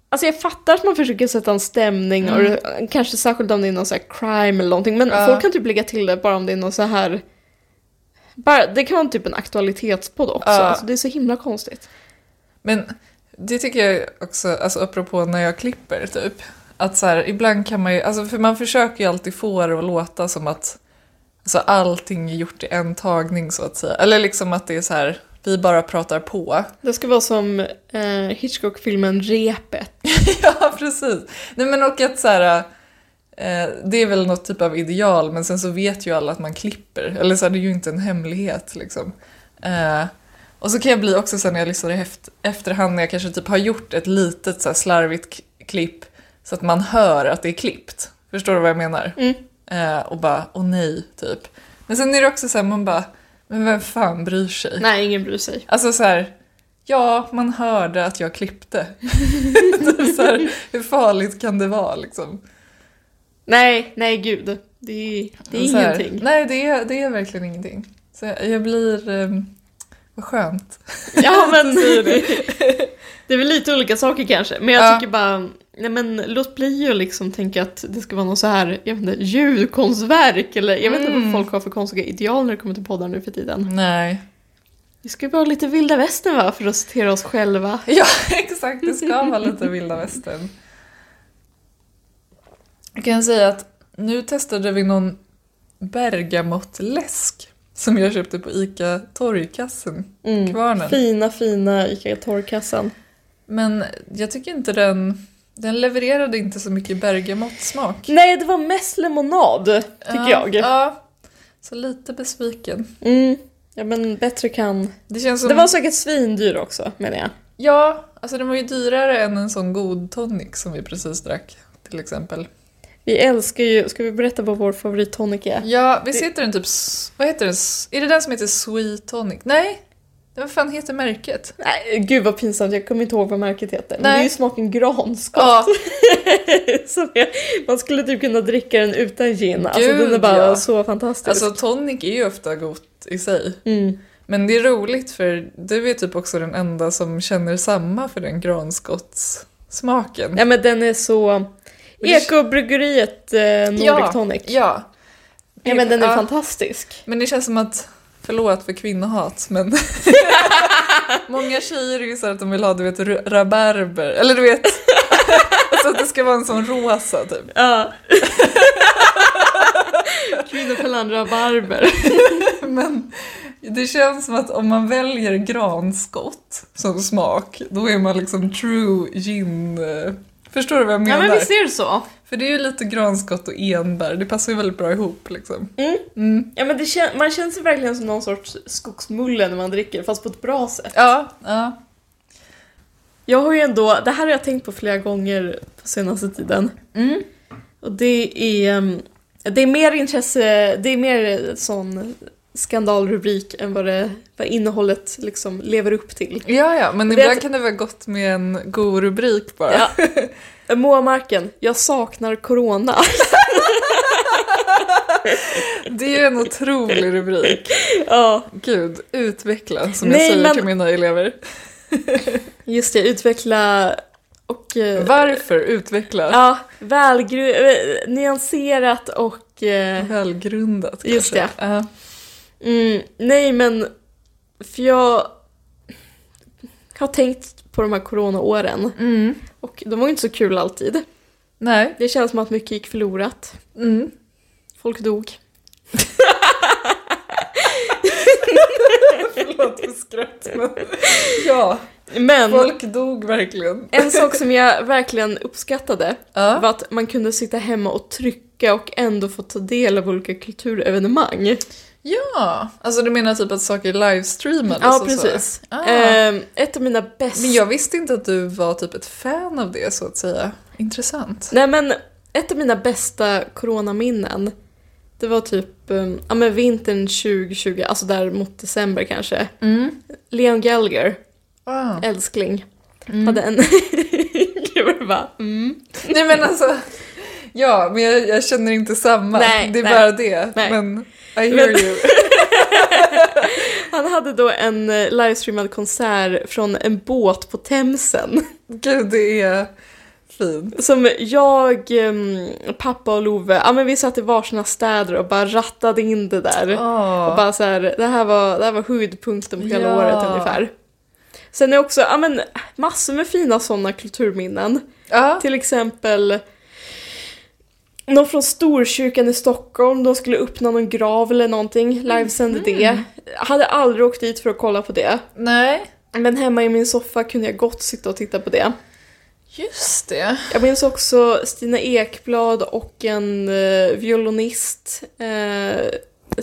Speaker 3: alltså jag fattar att man försöker sätta en stämning och eh, kanske särskilt om det är någon så här crime eller någonting men
Speaker 2: Mm. Ja.
Speaker 3: folk kan typ lägga till det bara om det är någon så här bara, det kan vara typ en aktualitetspodd också,
Speaker 2: Ja.
Speaker 3: alltså det är så himla konstigt.
Speaker 2: Men det tycker jag också, alltså apropå när jag klipper typ. Att så här, ibland kan man ju, alltså för man försöker ju alltid få det att låta som att alltså allting är gjort i en tagning så att säga. Eller liksom att det är så här, vi bara pratar på.
Speaker 3: Det ska vara som eh, Hitchcock-filmen Repet.
Speaker 2: [LAUGHS] Ja, precis. Nej, men och att så här, eh, det är väl något typ av ideal, men sen så vet ju alla att man klipper. Eller så här, det är ju inte en hemlighet liksom. Eh, och så kan jag bli också sen när jag lyssnar i heft- efterhand när jag kanske typ har gjort ett litet så här, slarvigt k- klipp så att man hör att det är klippt. Förstår du vad jag menar? Eh, och bara, åh nej, typ. Men sen är det också så här, man bara, men vem fan bryr sig?
Speaker 3: Nej, ingen bryr sig.
Speaker 2: Alltså så här, ja, man hörde att jag klippte. [LAUGHS] Typ så här, hur farligt kan det vara liksom?
Speaker 3: Nej, nej gud. Det är, det är
Speaker 2: Så här,
Speaker 3: ingenting.
Speaker 2: Nej, det är, det är verkligen ingenting. Så jag, jag blir, ehm, vad skönt.
Speaker 3: [LAUGHS] Ja, men
Speaker 2: Så säger
Speaker 3: det. är väl lite olika saker kanske. Men jag
Speaker 2: Ja.
Speaker 3: tycker bara, nej men låt bli att liksom tänka att det ska vara någon så här, jag vet inte, ljudkonstverk eller jag vet inte vad
Speaker 2: Mm.
Speaker 3: folk har för konstiga ideal när det kommer till poddar nu för tiden.
Speaker 2: Nej. [LAUGHS]
Speaker 3: Vi ska ju vara lite vilda västern va, för att citera oss själva.
Speaker 2: Ja, exakt. Det ska vara lite vilda västern. Jag kan säga att nu testade vi någon bergamottläsk som jag köpte på ICA Torgkassen,
Speaker 3: Mm.
Speaker 2: Kvarnen.
Speaker 3: Fina, fina ICA Torrkassan.
Speaker 2: Men jag tycker inte den... Den levererade inte så mycket bergamottsmak.
Speaker 3: Nej, det var mest lemonad tycker
Speaker 2: Ja,
Speaker 3: jag.
Speaker 2: Ja. Så lite besviken.
Speaker 3: Mm. Ja men bättre kan...
Speaker 2: Det känns som...
Speaker 3: Det var säkert svindyr också menar jag.
Speaker 2: Ja, alltså den var ju dyrare än en sån god tonic som vi precis drack till exempel.
Speaker 3: Vi älskar ju, ska vi berätta vad vår favorittonic är?
Speaker 2: Ja, visst heter den typ... s- Vad heter den? S- Är det den som heter Sweet Tonic? Nej! Vad fan heter märket?
Speaker 3: Nej, gud vad pinsamt, jag kommer inte ihåg vad märket heter. Men
Speaker 2: Nej.
Speaker 3: det är ju smaken granskott.
Speaker 2: Ja,
Speaker 3: [LAUGHS] Som är, man skulle typ kunna dricka den utan gin. Alltså
Speaker 2: Gud,
Speaker 3: den är bara
Speaker 2: ja.
Speaker 3: så fantastisk.
Speaker 2: alltså tonic är ju ofta gott i sig.
Speaker 3: mm.
Speaker 2: Men det är roligt för du är typ också den enda som känner samma för den granskottssmaken.
Speaker 3: Ja men den är så...
Speaker 2: det-
Speaker 3: Ekobryggeriet eh, Nordic
Speaker 2: Ja,
Speaker 3: Tonic. Ja.
Speaker 2: Ja.
Speaker 3: men den är
Speaker 2: Ja.
Speaker 3: fantastisk.
Speaker 2: Men det känns som att, förlåt för kvinnohat,
Speaker 3: [LAUGHS]
Speaker 2: men många tjejer är ju så här att de vill ha du vet ra- rabarber, eller du vet, [LAUGHS] alltså att det ska vara en sån rosa typ.
Speaker 3: [LAUGHS] Ja. Kvinnofällan rabarber.
Speaker 2: Men det känns som att om man väljer granskott som smak, då är man liksom true gin... eh, Förstår du vad jag
Speaker 3: Ja
Speaker 2: menar?
Speaker 3: men visst är det så.
Speaker 2: För det är ju lite granskott och enbär, det passar ju väldigt bra ihop liksom.
Speaker 3: Mm.
Speaker 2: Mm.
Speaker 3: Ja, men det kän- man känns ju verkligen som någon sorts skogsmulle när man dricker, fast på ett bra sätt.
Speaker 2: Ja, ja.
Speaker 3: Jag har ju ändå, det här har jag tänkt på flera gånger på senaste tiden.
Speaker 2: Mm.
Speaker 3: Och det är, um, det är mer intresse, det är mer sån skandalrubrik än vad, det, vad innehållet liksom lever upp till.
Speaker 2: Ja, ja, men
Speaker 3: Vet-
Speaker 2: ibland kan det vara gott med en god rubrik bara.
Speaker 3: Ja. Moa Marken, jag saknar corona.
Speaker 2: Det är ju en otrolig rubrik.
Speaker 3: ja.
Speaker 2: Gud, utveckla som jag
Speaker 3: Nej,
Speaker 2: säger
Speaker 3: men-
Speaker 2: till mina elever.
Speaker 3: [LAUGHS] Just det, utveckla och... eh,
Speaker 2: Varför utveckla?
Speaker 3: Ja, välgru- eh, nyanserat
Speaker 2: [LAUGHS]
Speaker 3: och... eh,
Speaker 2: Välgrundat kanske.
Speaker 3: Just
Speaker 2: det. Ja.
Speaker 3: Mm, nej men, för jag har tänkt på de här coronaåren
Speaker 2: Mm.
Speaker 3: och de var ju inte så kul alltid.
Speaker 2: Nej.
Speaker 3: Det känns som att mycket gick förlorat.
Speaker 2: Mm.
Speaker 3: Folk dog.
Speaker 2: Förlåt för skratt men... Ja,
Speaker 3: Men
Speaker 2: folk dog verkligen.
Speaker 3: en sak som jag verkligen uppskattade
Speaker 2: Ja.
Speaker 3: var att man kunde sitta hemma och trycka och ändå få ta del av olika kulturevenemang.
Speaker 2: ja, alltså du menar typ att saker livestreamades
Speaker 3: Ja,
Speaker 2: och
Speaker 3: precis.
Speaker 2: Så? Ah.
Speaker 3: Ehm, ett av mina bästa...
Speaker 2: Men jag visste inte att du var typ ett fan av det så att säga. Intressant.
Speaker 3: Nej men, ett av mina bästa coronaminnen det var typ ehm, ja, men vintern 2020, alltså där mot december kanske.
Speaker 2: Mm.
Speaker 3: Leon Gallagher,
Speaker 2: Ah.
Speaker 3: älskling, hade en... [LAUGHS] Gud vad det bara... Mm.
Speaker 2: Nej men alltså, ja men jag, jag känner inte samma.
Speaker 3: Nej,
Speaker 2: det är
Speaker 3: nej.
Speaker 2: bara det.
Speaker 3: Nej.
Speaker 2: Men I hear
Speaker 3: Men-
Speaker 2: you. [LAUGHS]
Speaker 3: Han hade då en eh, livestreamad konsert från en båt på Themsen.
Speaker 2: Gud det är fint.
Speaker 3: Som jag, ehm, pappa och Love, ja men vi satt i varsina städer och bara rattade in det där. Och
Speaker 2: Oh.
Speaker 3: bara så här, det här var, det här var höjdpunkten på hela
Speaker 2: Ja.
Speaker 3: året ungefär. Sen är också, ja men massor med fina sådana kulturminnen.
Speaker 2: Ja.
Speaker 3: Till exempel någon från Storkyrkan i Stockholm, de skulle öppna någon grav eller någonting, livesände det. Jag hade aldrig åkt dit för att kolla på det.
Speaker 2: Nej,
Speaker 3: Men hemma i min soffa kunde jag gott sitta och titta på det.
Speaker 2: just det.
Speaker 3: Jag minns också Stina Ekblad och en eh, violinist eh,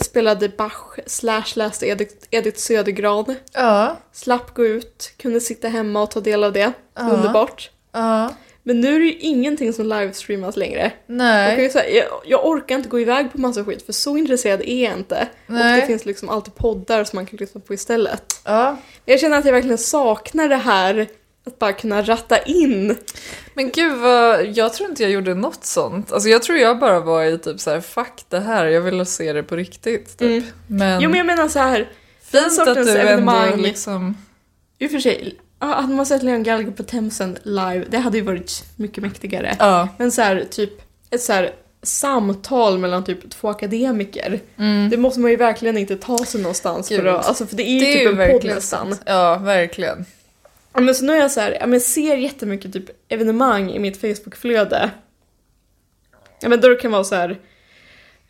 Speaker 3: spelade Bach slash läste Edith, Edith Södergran.
Speaker 2: Ja.
Speaker 3: Slapp gå ut, kunde sitta hemma och ta del av det.
Speaker 2: Ja.
Speaker 3: Underbart.
Speaker 2: Ja.
Speaker 3: Men nu är det ju ingenting som livestreamas längre. Jag, kan
Speaker 2: Nej.
Speaker 3: ju säga, jag, jag orkar inte gå iväg på massa skit för så intresserad är jag inte. Och
Speaker 2: Nej.
Speaker 3: det finns liksom alltid poddar som man kan lyssna på istället.
Speaker 2: Ja.
Speaker 3: Jag känner att jag verkligen saknar det här att bara kunna ratta in.
Speaker 2: Men gud vad, jag tror inte jag gjorde något sånt. Alltså jag tror jag bara var i typ så här: fuck det här, jag vill se det på riktigt. Typ.
Speaker 3: Mm.
Speaker 2: Men,
Speaker 3: Jo men jag menar så här
Speaker 2: fint att
Speaker 3: sortens
Speaker 2: du ändå
Speaker 3: evenemang-
Speaker 2: liksom...
Speaker 3: I och för sig, ja, hade man sett Leon Gallagher på Themsen live, det hade ju varit mycket mäktigare.
Speaker 2: Ja.
Speaker 3: Men så här, typ ett så här samtal mellan typ två akademiker. Det måste man ju verkligen inte ta sig någonstans
Speaker 2: Mm. Gud.
Speaker 3: för att, alltså för det är ju
Speaker 2: Det är
Speaker 3: typ
Speaker 2: ju
Speaker 3: en podd
Speaker 2: verkligen
Speaker 3: nästan.
Speaker 2: Ja, verkligen.
Speaker 3: Ja, Men så nu är jag så här, ja, men ser jättemycket typ evenemang i mitt Facebookflöde. Ja men då det kan vara så här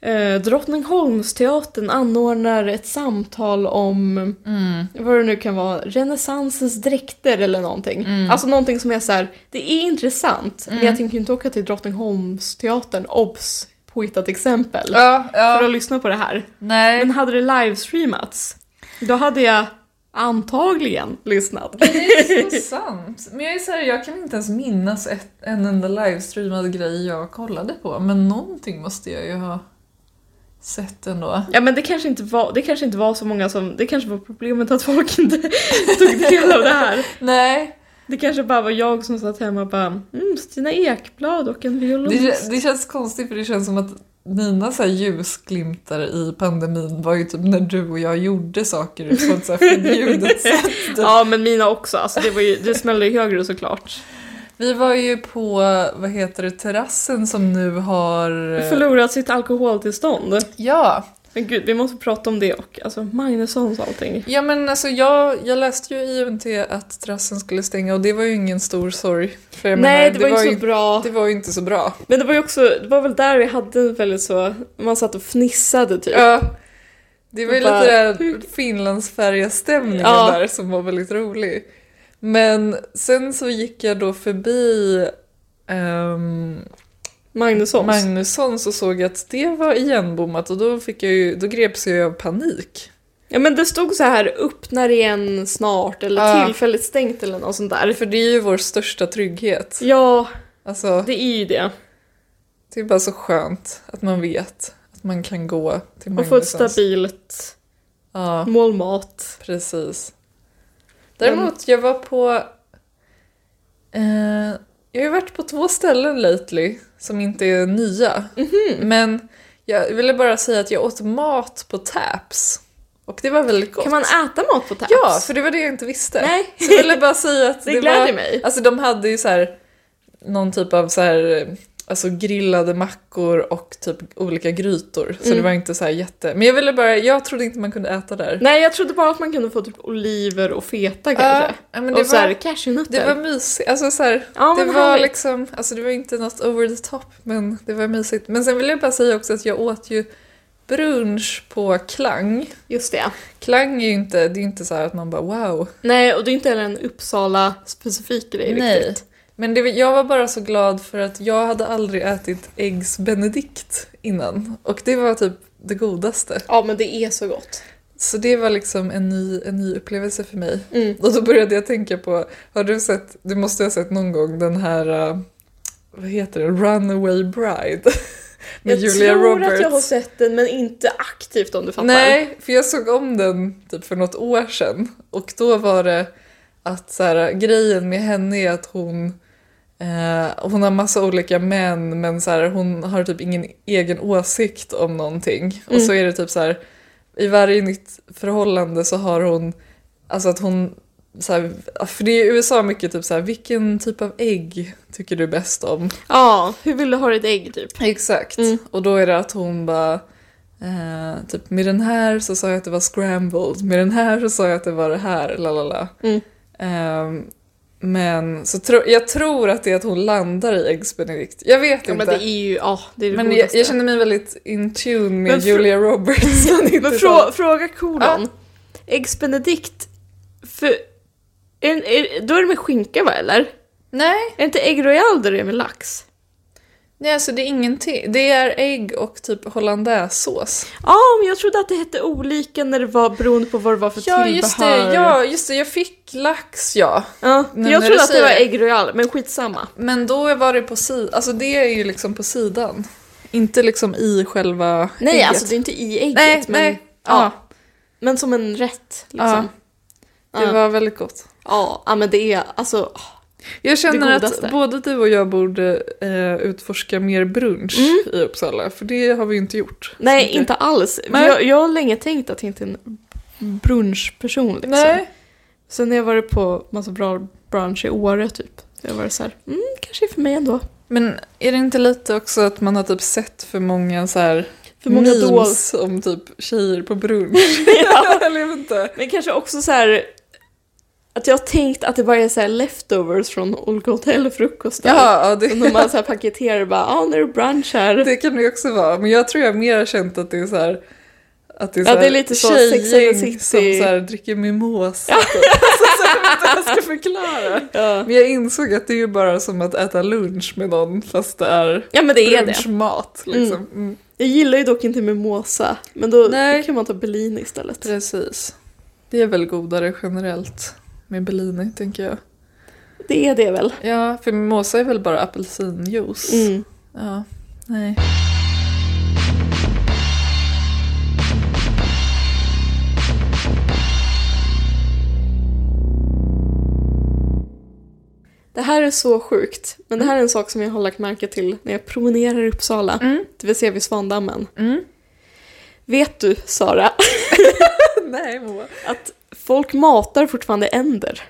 Speaker 3: eh, Drottningholmsteatern anordnar ett samtal om
Speaker 2: Mm.
Speaker 3: vad det nu kan vara, renässansens dräkter eller någonting.
Speaker 2: Mm.
Speaker 3: Alltså någonting som är så här, det är intressant, men jag tänker ju inte åka till Drottningholmsteatern, obs, påhittat exempel
Speaker 2: Ja,
Speaker 3: för
Speaker 2: ja.
Speaker 3: att lyssna på det här.
Speaker 2: Nej.
Speaker 3: Men hade det livestreamats, då hade jag antagligen lyssnat.
Speaker 2: Det är så sant. Men jag, är så här, jag kan inte ens minnas ett, en enda livestreamad grej jag kollade på. Men någonting måste jag ju ha sett ändå.
Speaker 3: Ja men det kanske inte var, det kanske inte var så många som, det kanske var problemet att folk inte [LAUGHS] tog del av det här.
Speaker 2: Nej,
Speaker 3: Det kanske bara var jag som satt hemma och bara mm, Stina Ekblad och en
Speaker 2: det,
Speaker 3: violonist.
Speaker 2: det känns konstigt för det känns som att mina så här ljusglimtar i pandemin var ju typ när du och jag gjorde saker på ett så här förbjudet sätt.
Speaker 3: Ja men mina också, alltså det, var ju, det smällde ju högre såklart.
Speaker 2: Vi var ju på, vad heter det, terrassen som nu har...
Speaker 3: Förlorat sitt alkoholtillstånd.
Speaker 2: Ja,
Speaker 3: Men gud, vi måste prata om det och alltså Magnussons och allting.
Speaker 2: Ja men alltså jag, jag läste ju i UNT att terrassen skulle stänga och det var ju ingen stor sorg. För jag
Speaker 3: Nej,
Speaker 2: menar,
Speaker 3: det var, ju inte så bra.
Speaker 2: Det var ju inte så bra.
Speaker 3: Men det var ju också, det var väl där vi hade en väldigt så, man satt och fnissade typ.
Speaker 2: Ja. Det var ju
Speaker 3: Bara,
Speaker 2: lite där Finlandsfärja-stämningen
Speaker 3: Ja.
Speaker 2: där som var väldigt rolig. Men sen så gick jag då förbi ehm,
Speaker 3: Magnussons.
Speaker 2: Magnusson så såg jag att det var igenbommat och då, fick jag ju, då greps jag ju av panik.
Speaker 3: ja men det stod så här öppnar igen snart eller
Speaker 2: Ja.
Speaker 3: tillfälligt stängt eller något sånt där.
Speaker 2: För det är ju vår största trygghet.
Speaker 3: Ja,
Speaker 2: Alltså,
Speaker 3: det är ju det.
Speaker 2: Det är bara så skönt att man vet att man kan gå till
Speaker 3: Och få ett
Speaker 2: Magnussons.
Speaker 3: stabilt
Speaker 2: Ja,
Speaker 3: mål mat.
Speaker 2: precis. Däremot, jag var på... Eh, jag har ju varit på två ställen lately som inte är nya.
Speaker 3: Mhm.
Speaker 2: Men jag ville bara säga att jag åt mat på Taps. Och det var väldigt gott.
Speaker 3: Kan man äta mat på Taps?
Speaker 2: Ja, för det var det jag inte visste.
Speaker 3: [LAUGHS] Nej.
Speaker 2: Så jag ville bara säga att
Speaker 3: [LAUGHS] Det
Speaker 2: det
Speaker 3: gläder
Speaker 2: var,
Speaker 3: mig.
Speaker 2: Alltså de hade ju så här någon typ av så här alltså grillade mackor och typ olika grytor. Så det
Speaker 3: Mm.
Speaker 2: var inte så här jätte... Men jag ville bara, jag trodde inte man kunde äta där.
Speaker 3: Nej, jag trodde bara att man kunde få typ oliver och feta kanske.
Speaker 2: Ah, ja, men det,
Speaker 3: och så här
Speaker 2: var, det
Speaker 3: cashewnötter.
Speaker 2: var mysigt. Alltså så här,
Speaker 3: Ja,
Speaker 2: det
Speaker 3: men
Speaker 2: var
Speaker 3: härligt.
Speaker 2: liksom, alltså det var inte något over the top men det var mysigt. Men sen vill jag bara säga också att jag åt ju brunch på Klang.
Speaker 3: Just det.
Speaker 2: Klang är ju inte, det är ju inte så här att man bara wow,
Speaker 3: Nej, och det är inte heller en Uppsala-specifik grej
Speaker 2: Nej.
Speaker 3: riktigt.
Speaker 2: Men det, jag var bara så glad för att jag hade aldrig ätit äggs benedikt innan. Och det var typ det godaste.
Speaker 3: Ja, men det är så gott.
Speaker 2: Så det var liksom en ny, en ny upplevelse för mig.
Speaker 3: Mm.
Speaker 2: Och då började jag tänka på, har du sett, du måste ha sett någon gång den här, eh, vad heter det, Runaway Bride? [LAUGHS] Med
Speaker 3: Jag
Speaker 2: Julia
Speaker 3: tror
Speaker 2: Roberts.
Speaker 3: att jag har sett den, men inte aktivt om du fattar.
Speaker 2: Nej, för jag såg om den typ för något år sedan och då var det att så här, grejen med henne är att hon, eh, hon har massa olika män men så här, hon har typ ingen egen åsikt om någonting. Och så är det typ så här, i varje nytt förhållande så har hon, alltså att hon så här, för det är i USA mycket typ så här, vilken typ av ägg tycker du bäst om?
Speaker 3: Ja, hur vill du ha ditt ägg typ?
Speaker 2: Exakt. Och då är det att hon bara... Eh, typ med den här så sa jag att det var scrambled, med den här så sa jag att det var det här, la la la.
Speaker 3: Mm.
Speaker 2: Ehm, men så tro, jag tror att det är att hon landar i Eggs Benedict. Jag vet
Speaker 3: Ja,
Speaker 2: inte.
Speaker 3: men det är ju, ja, det är det
Speaker 2: Men jag,
Speaker 3: godaste. [LAUGHS]
Speaker 2: jag känner mig väldigt in tune med
Speaker 3: Men fr-
Speaker 2: Julia Roberts. [LAUGHS] men inte så-
Speaker 3: Men frå, fråga kolon. Eggs Benedict, för... Är, är, då är det med skinka va, eller?
Speaker 2: Nej,
Speaker 3: Är inte ägg royal där det är med lax?
Speaker 2: nej alltså det är ingenting. Det är ägg och typ hollandaisesås.
Speaker 3: Ja, men jag trodde att det hette olika när det var beroende på vad det var för
Speaker 2: Ja
Speaker 3: tillbehör.
Speaker 2: just, det, ja, just det. Jag fick lax, ja.
Speaker 3: Ja,
Speaker 2: Nu
Speaker 3: jag
Speaker 2: när
Speaker 3: trodde
Speaker 2: du
Speaker 3: att det var
Speaker 2: säger det.
Speaker 3: ägg royal, men skitsamma.
Speaker 2: Men då var det på sidan, alltså det är ju liksom på sidan. Inte liksom i själva
Speaker 3: Nej,
Speaker 2: ägget.
Speaker 3: alltså det är inte i ägget.
Speaker 2: Nej,
Speaker 3: men,
Speaker 2: nej.
Speaker 3: Ja,
Speaker 2: Ja,
Speaker 3: men som en rätt liksom.
Speaker 2: ja. Det
Speaker 3: Ja.
Speaker 2: var väldigt gott.
Speaker 3: Ja, ja men det är alltså... åh.
Speaker 2: Jag känner
Speaker 3: godaste.
Speaker 2: att både du och jag borde eh, utforska mer brunch i Uppsala, för det har vi ju inte gjort.
Speaker 3: Mm. Nej,
Speaker 2: Så mycket.
Speaker 3: inte alls.
Speaker 2: Nej.
Speaker 3: Jag, jag har länge tänkt att jag inte är en brunchperson liksom.
Speaker 2: Nej,
Speaker 3: Sen har jag varit på massa bra brunch i Åre typ. Så jag har varit såhär, mm, kanske är för mig ändå.
Speaker 2: men är det inte lite också att man har typ sett för många så här
Speaker 3: För många
Speaker 2: memes
Speaker 3: dolls.
Speaker 2: om typ tjejer på brunch?
Speaker 3: [LAUGHS]
Speaker 2: [LAUGHS]
Speaker 3: Ja.
Speaker 2: Eller jag vet inte.
Speaker 3: Men kanske också så här att jag har tänkt att det bara är så här leftovers från olika hotellfrukostar.
Speaker 2: Ja, ja,
Speaker 3: Och när
Speaker 2: det,
Speaker 3: man så här paketerar och bara, ja ah, nu är det brunch här.
Speaker 2: det kan det ju också vara. Men jag tror jag mer har känt att det är så här... Att det är,
Speaker 3: Ja,
Speaker 2: så här
Speaker 3: det är lite så Sex and the
Speaker 2: tjejgäng
Speaker 3: City.
Speaker 2: som så här dricker mimosa. typ. inte vad jag ska förklara.
Speaker 3: Ja.
Speaker 2: Men jag insåg att det är ju bara som att äta lunch med någon fast det är
Speaker 3: ja men det är det.
Speaker 2: brunchmat. Liksom. Mm.
Speaker 3: Jag gillar ju dock inte mimosa, men då
Speaker 2: Nej.
Speaker 3: kan man ta Bellini istället.
Speaker 2: Precis. Det är väl godare generellt med Bellini tänker jag.
Speaker 3: Det är det väl?
Speaker 2: Ja, för mimosa är väl bara apelsinjuice.
Speaker 3: Mm.
Speaker 2: Ja, nej.
Speaker 3: Det här är så sjukt, men det här är en sak som jag har lagt märke till när jag promenerar i Uppsala,
Speaker 2: Mm.
Speaker 3: det vill säga vid Svandammen.
Speaker 2: Mm.
Speaker 3: Vet du, Sara,
Speaker 2: [LAUGHS]
Speaker 3: [LAUGHS]
Speaker 2: nej, Moa.
Speaker 3: att folk matar fortfarande änder?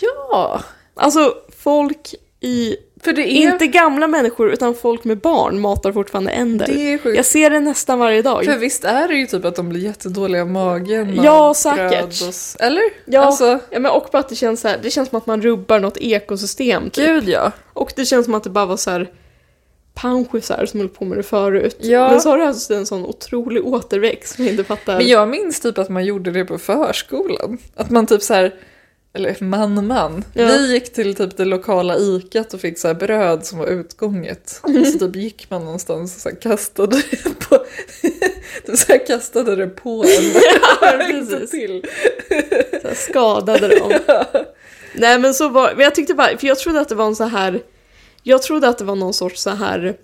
Speaker 2: Ja,
Speaker 3: Alltså, folk i...
Speaker 2: för det är...
Speaker 3: Inte gamla människor, utan folk med barn matar fortfarande änder.
Speaker 2: det är sjukt.
Speaker 3: Jag ser det nästan varje dag.
Speaker 2: För visst är det ju typ att de blir jättedåliga i magen av
Speaker 3: Ja, säkert.
Speaker 2: bröd och s- Eller?
Speaker 3: Ja. typ.
Speaker 2: Alltså,
Speaker 3: Ja, men och på att det känns så här, det känns som att man rubbar något ekosystem typ.
Speaker 2: gud ja.
Speaker 3: Och det känns som att det bara var så här panschisar som höll på med det förut.
Speaker 2: Ja.
Speaker 3: Men så har det alltså en sån otrolig återväxt som jag inte fattar.
Speaker 2: Men jag minns typ att man gjorde det på förskolan. Att man typ så här, eller man man.
Speaker 3: Ja.
Speaker 2: Vi gick till typ det lokala ikat och fick så här bröd som var utgånget.
Speaker 3: Mm.
Speaker 2: Så typ gick man någonstans och så här kastade det på, [LAUGHS] typ så här kastade det på en.
Speaker 3: [LAUGHS] Ja,
Speaker 2: Inte
Speaker 3: precis.
Speaker 2: till.
Speaker 3: Så här skadade dem.
Speaker 2: [LAUGHS]
Speaker 3: Nej men så var men jag tyckte bara, för jag trodde att det var en så här, jag trodde att det var någon sorts så här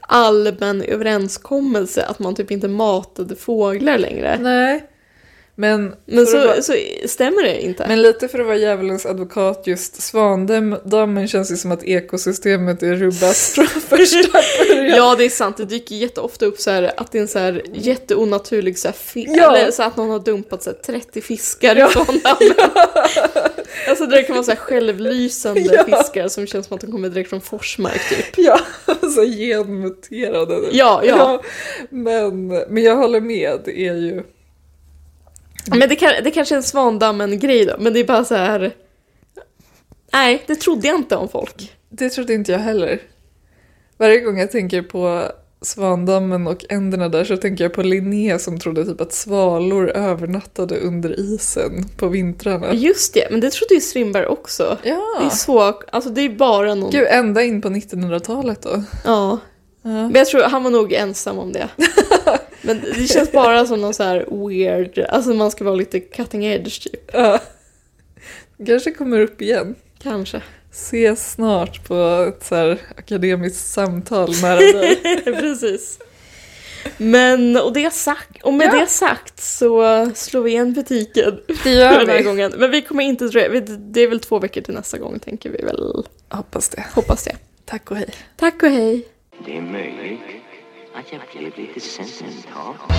Speaker 3: allmän överenskommelse att man typ inte matade fåglar längre.
Speaker 2: Nej. Men,
Speaker 3: Men
Speaker 2: för att vara-
Speaker 3: så, så stämmer det inte.
Speaker 2: Men lite för att vara djävulens advokat just Svandammen känns ju som att ekosystemet är rubbat [LAUGHS] från första början.
Speaker 3: Ja, det är sant. Det dyker jätteofta upp så här att det är en så här jätteonaturlig så här fi-
Speaker 2: Ja.
Speaker 3: eller så att någon har dumpat så här 30 fiskar
Speaker 2: [LAUGHS]
Speaker 3: i sådana. Alltså det kan vara så här självlysande
Speaker 2: Ja.
Speaker 3: fiskar som känns som att de kommer direkt från Forsmark typ.
Speaker 2: Ja, alltså genmuterade.
Speaker 3: Ja, ja.
Speaker 2: men, men jag håller med, det är ju...
Speaker 3: Men det, kan, det kanske är en Svandammen-grej då, men det är bara så här. Nej, det trodde jag inte om folk.
Speaker 2: Det trodde inte jag heller. Varje gång jag tänker på Svandammen och änderna där så tänker jag på Linné som trodde typ att svalor övernattade under isen på vintrarna.
Speaker 3: Just det, men det trodde ju Strindberg också. Det är
Speaker 2: Ja!
Speaker 3: så, alltså det är bara någon...
Speaker 2: Gud, ända in på 1900-talet då.
Speaker 3: Ja.
Speaker 2: Ja.
Speaker 3: Men jag tror han var nog ensam
Speaker 2: [LAUGHS]
Speaker 3: om det. Men det känns bara som någon så här weird, alltså man ska vara lite cutting edge typ.
Speaker 2: Ja. Kanske kommer upp igen. [LAUGHS]
Speaker 3: Kanske.
Speaker 2: Ses snart på ett så här akademiskt samtal nära dig.
Speaker 3: Precis. Men, och det sagt, och med
Speaker 2: Ja.
Speaker 3: det sagt så slår vi igen butiken
Speaker 2: Det
Speaker 3: för den här gången. Men vi kommer inte dröja, vi- det är väl två veckor till nästa gång tänker vi väl.
Speaker 2: Hoppas det.
Speaker 3: Hoppas det.
Speaker 2: Tack och hej.
Speaker 3: Tack och hej.
Speaker 1: Det är möjligt att jag blev lite sentimental.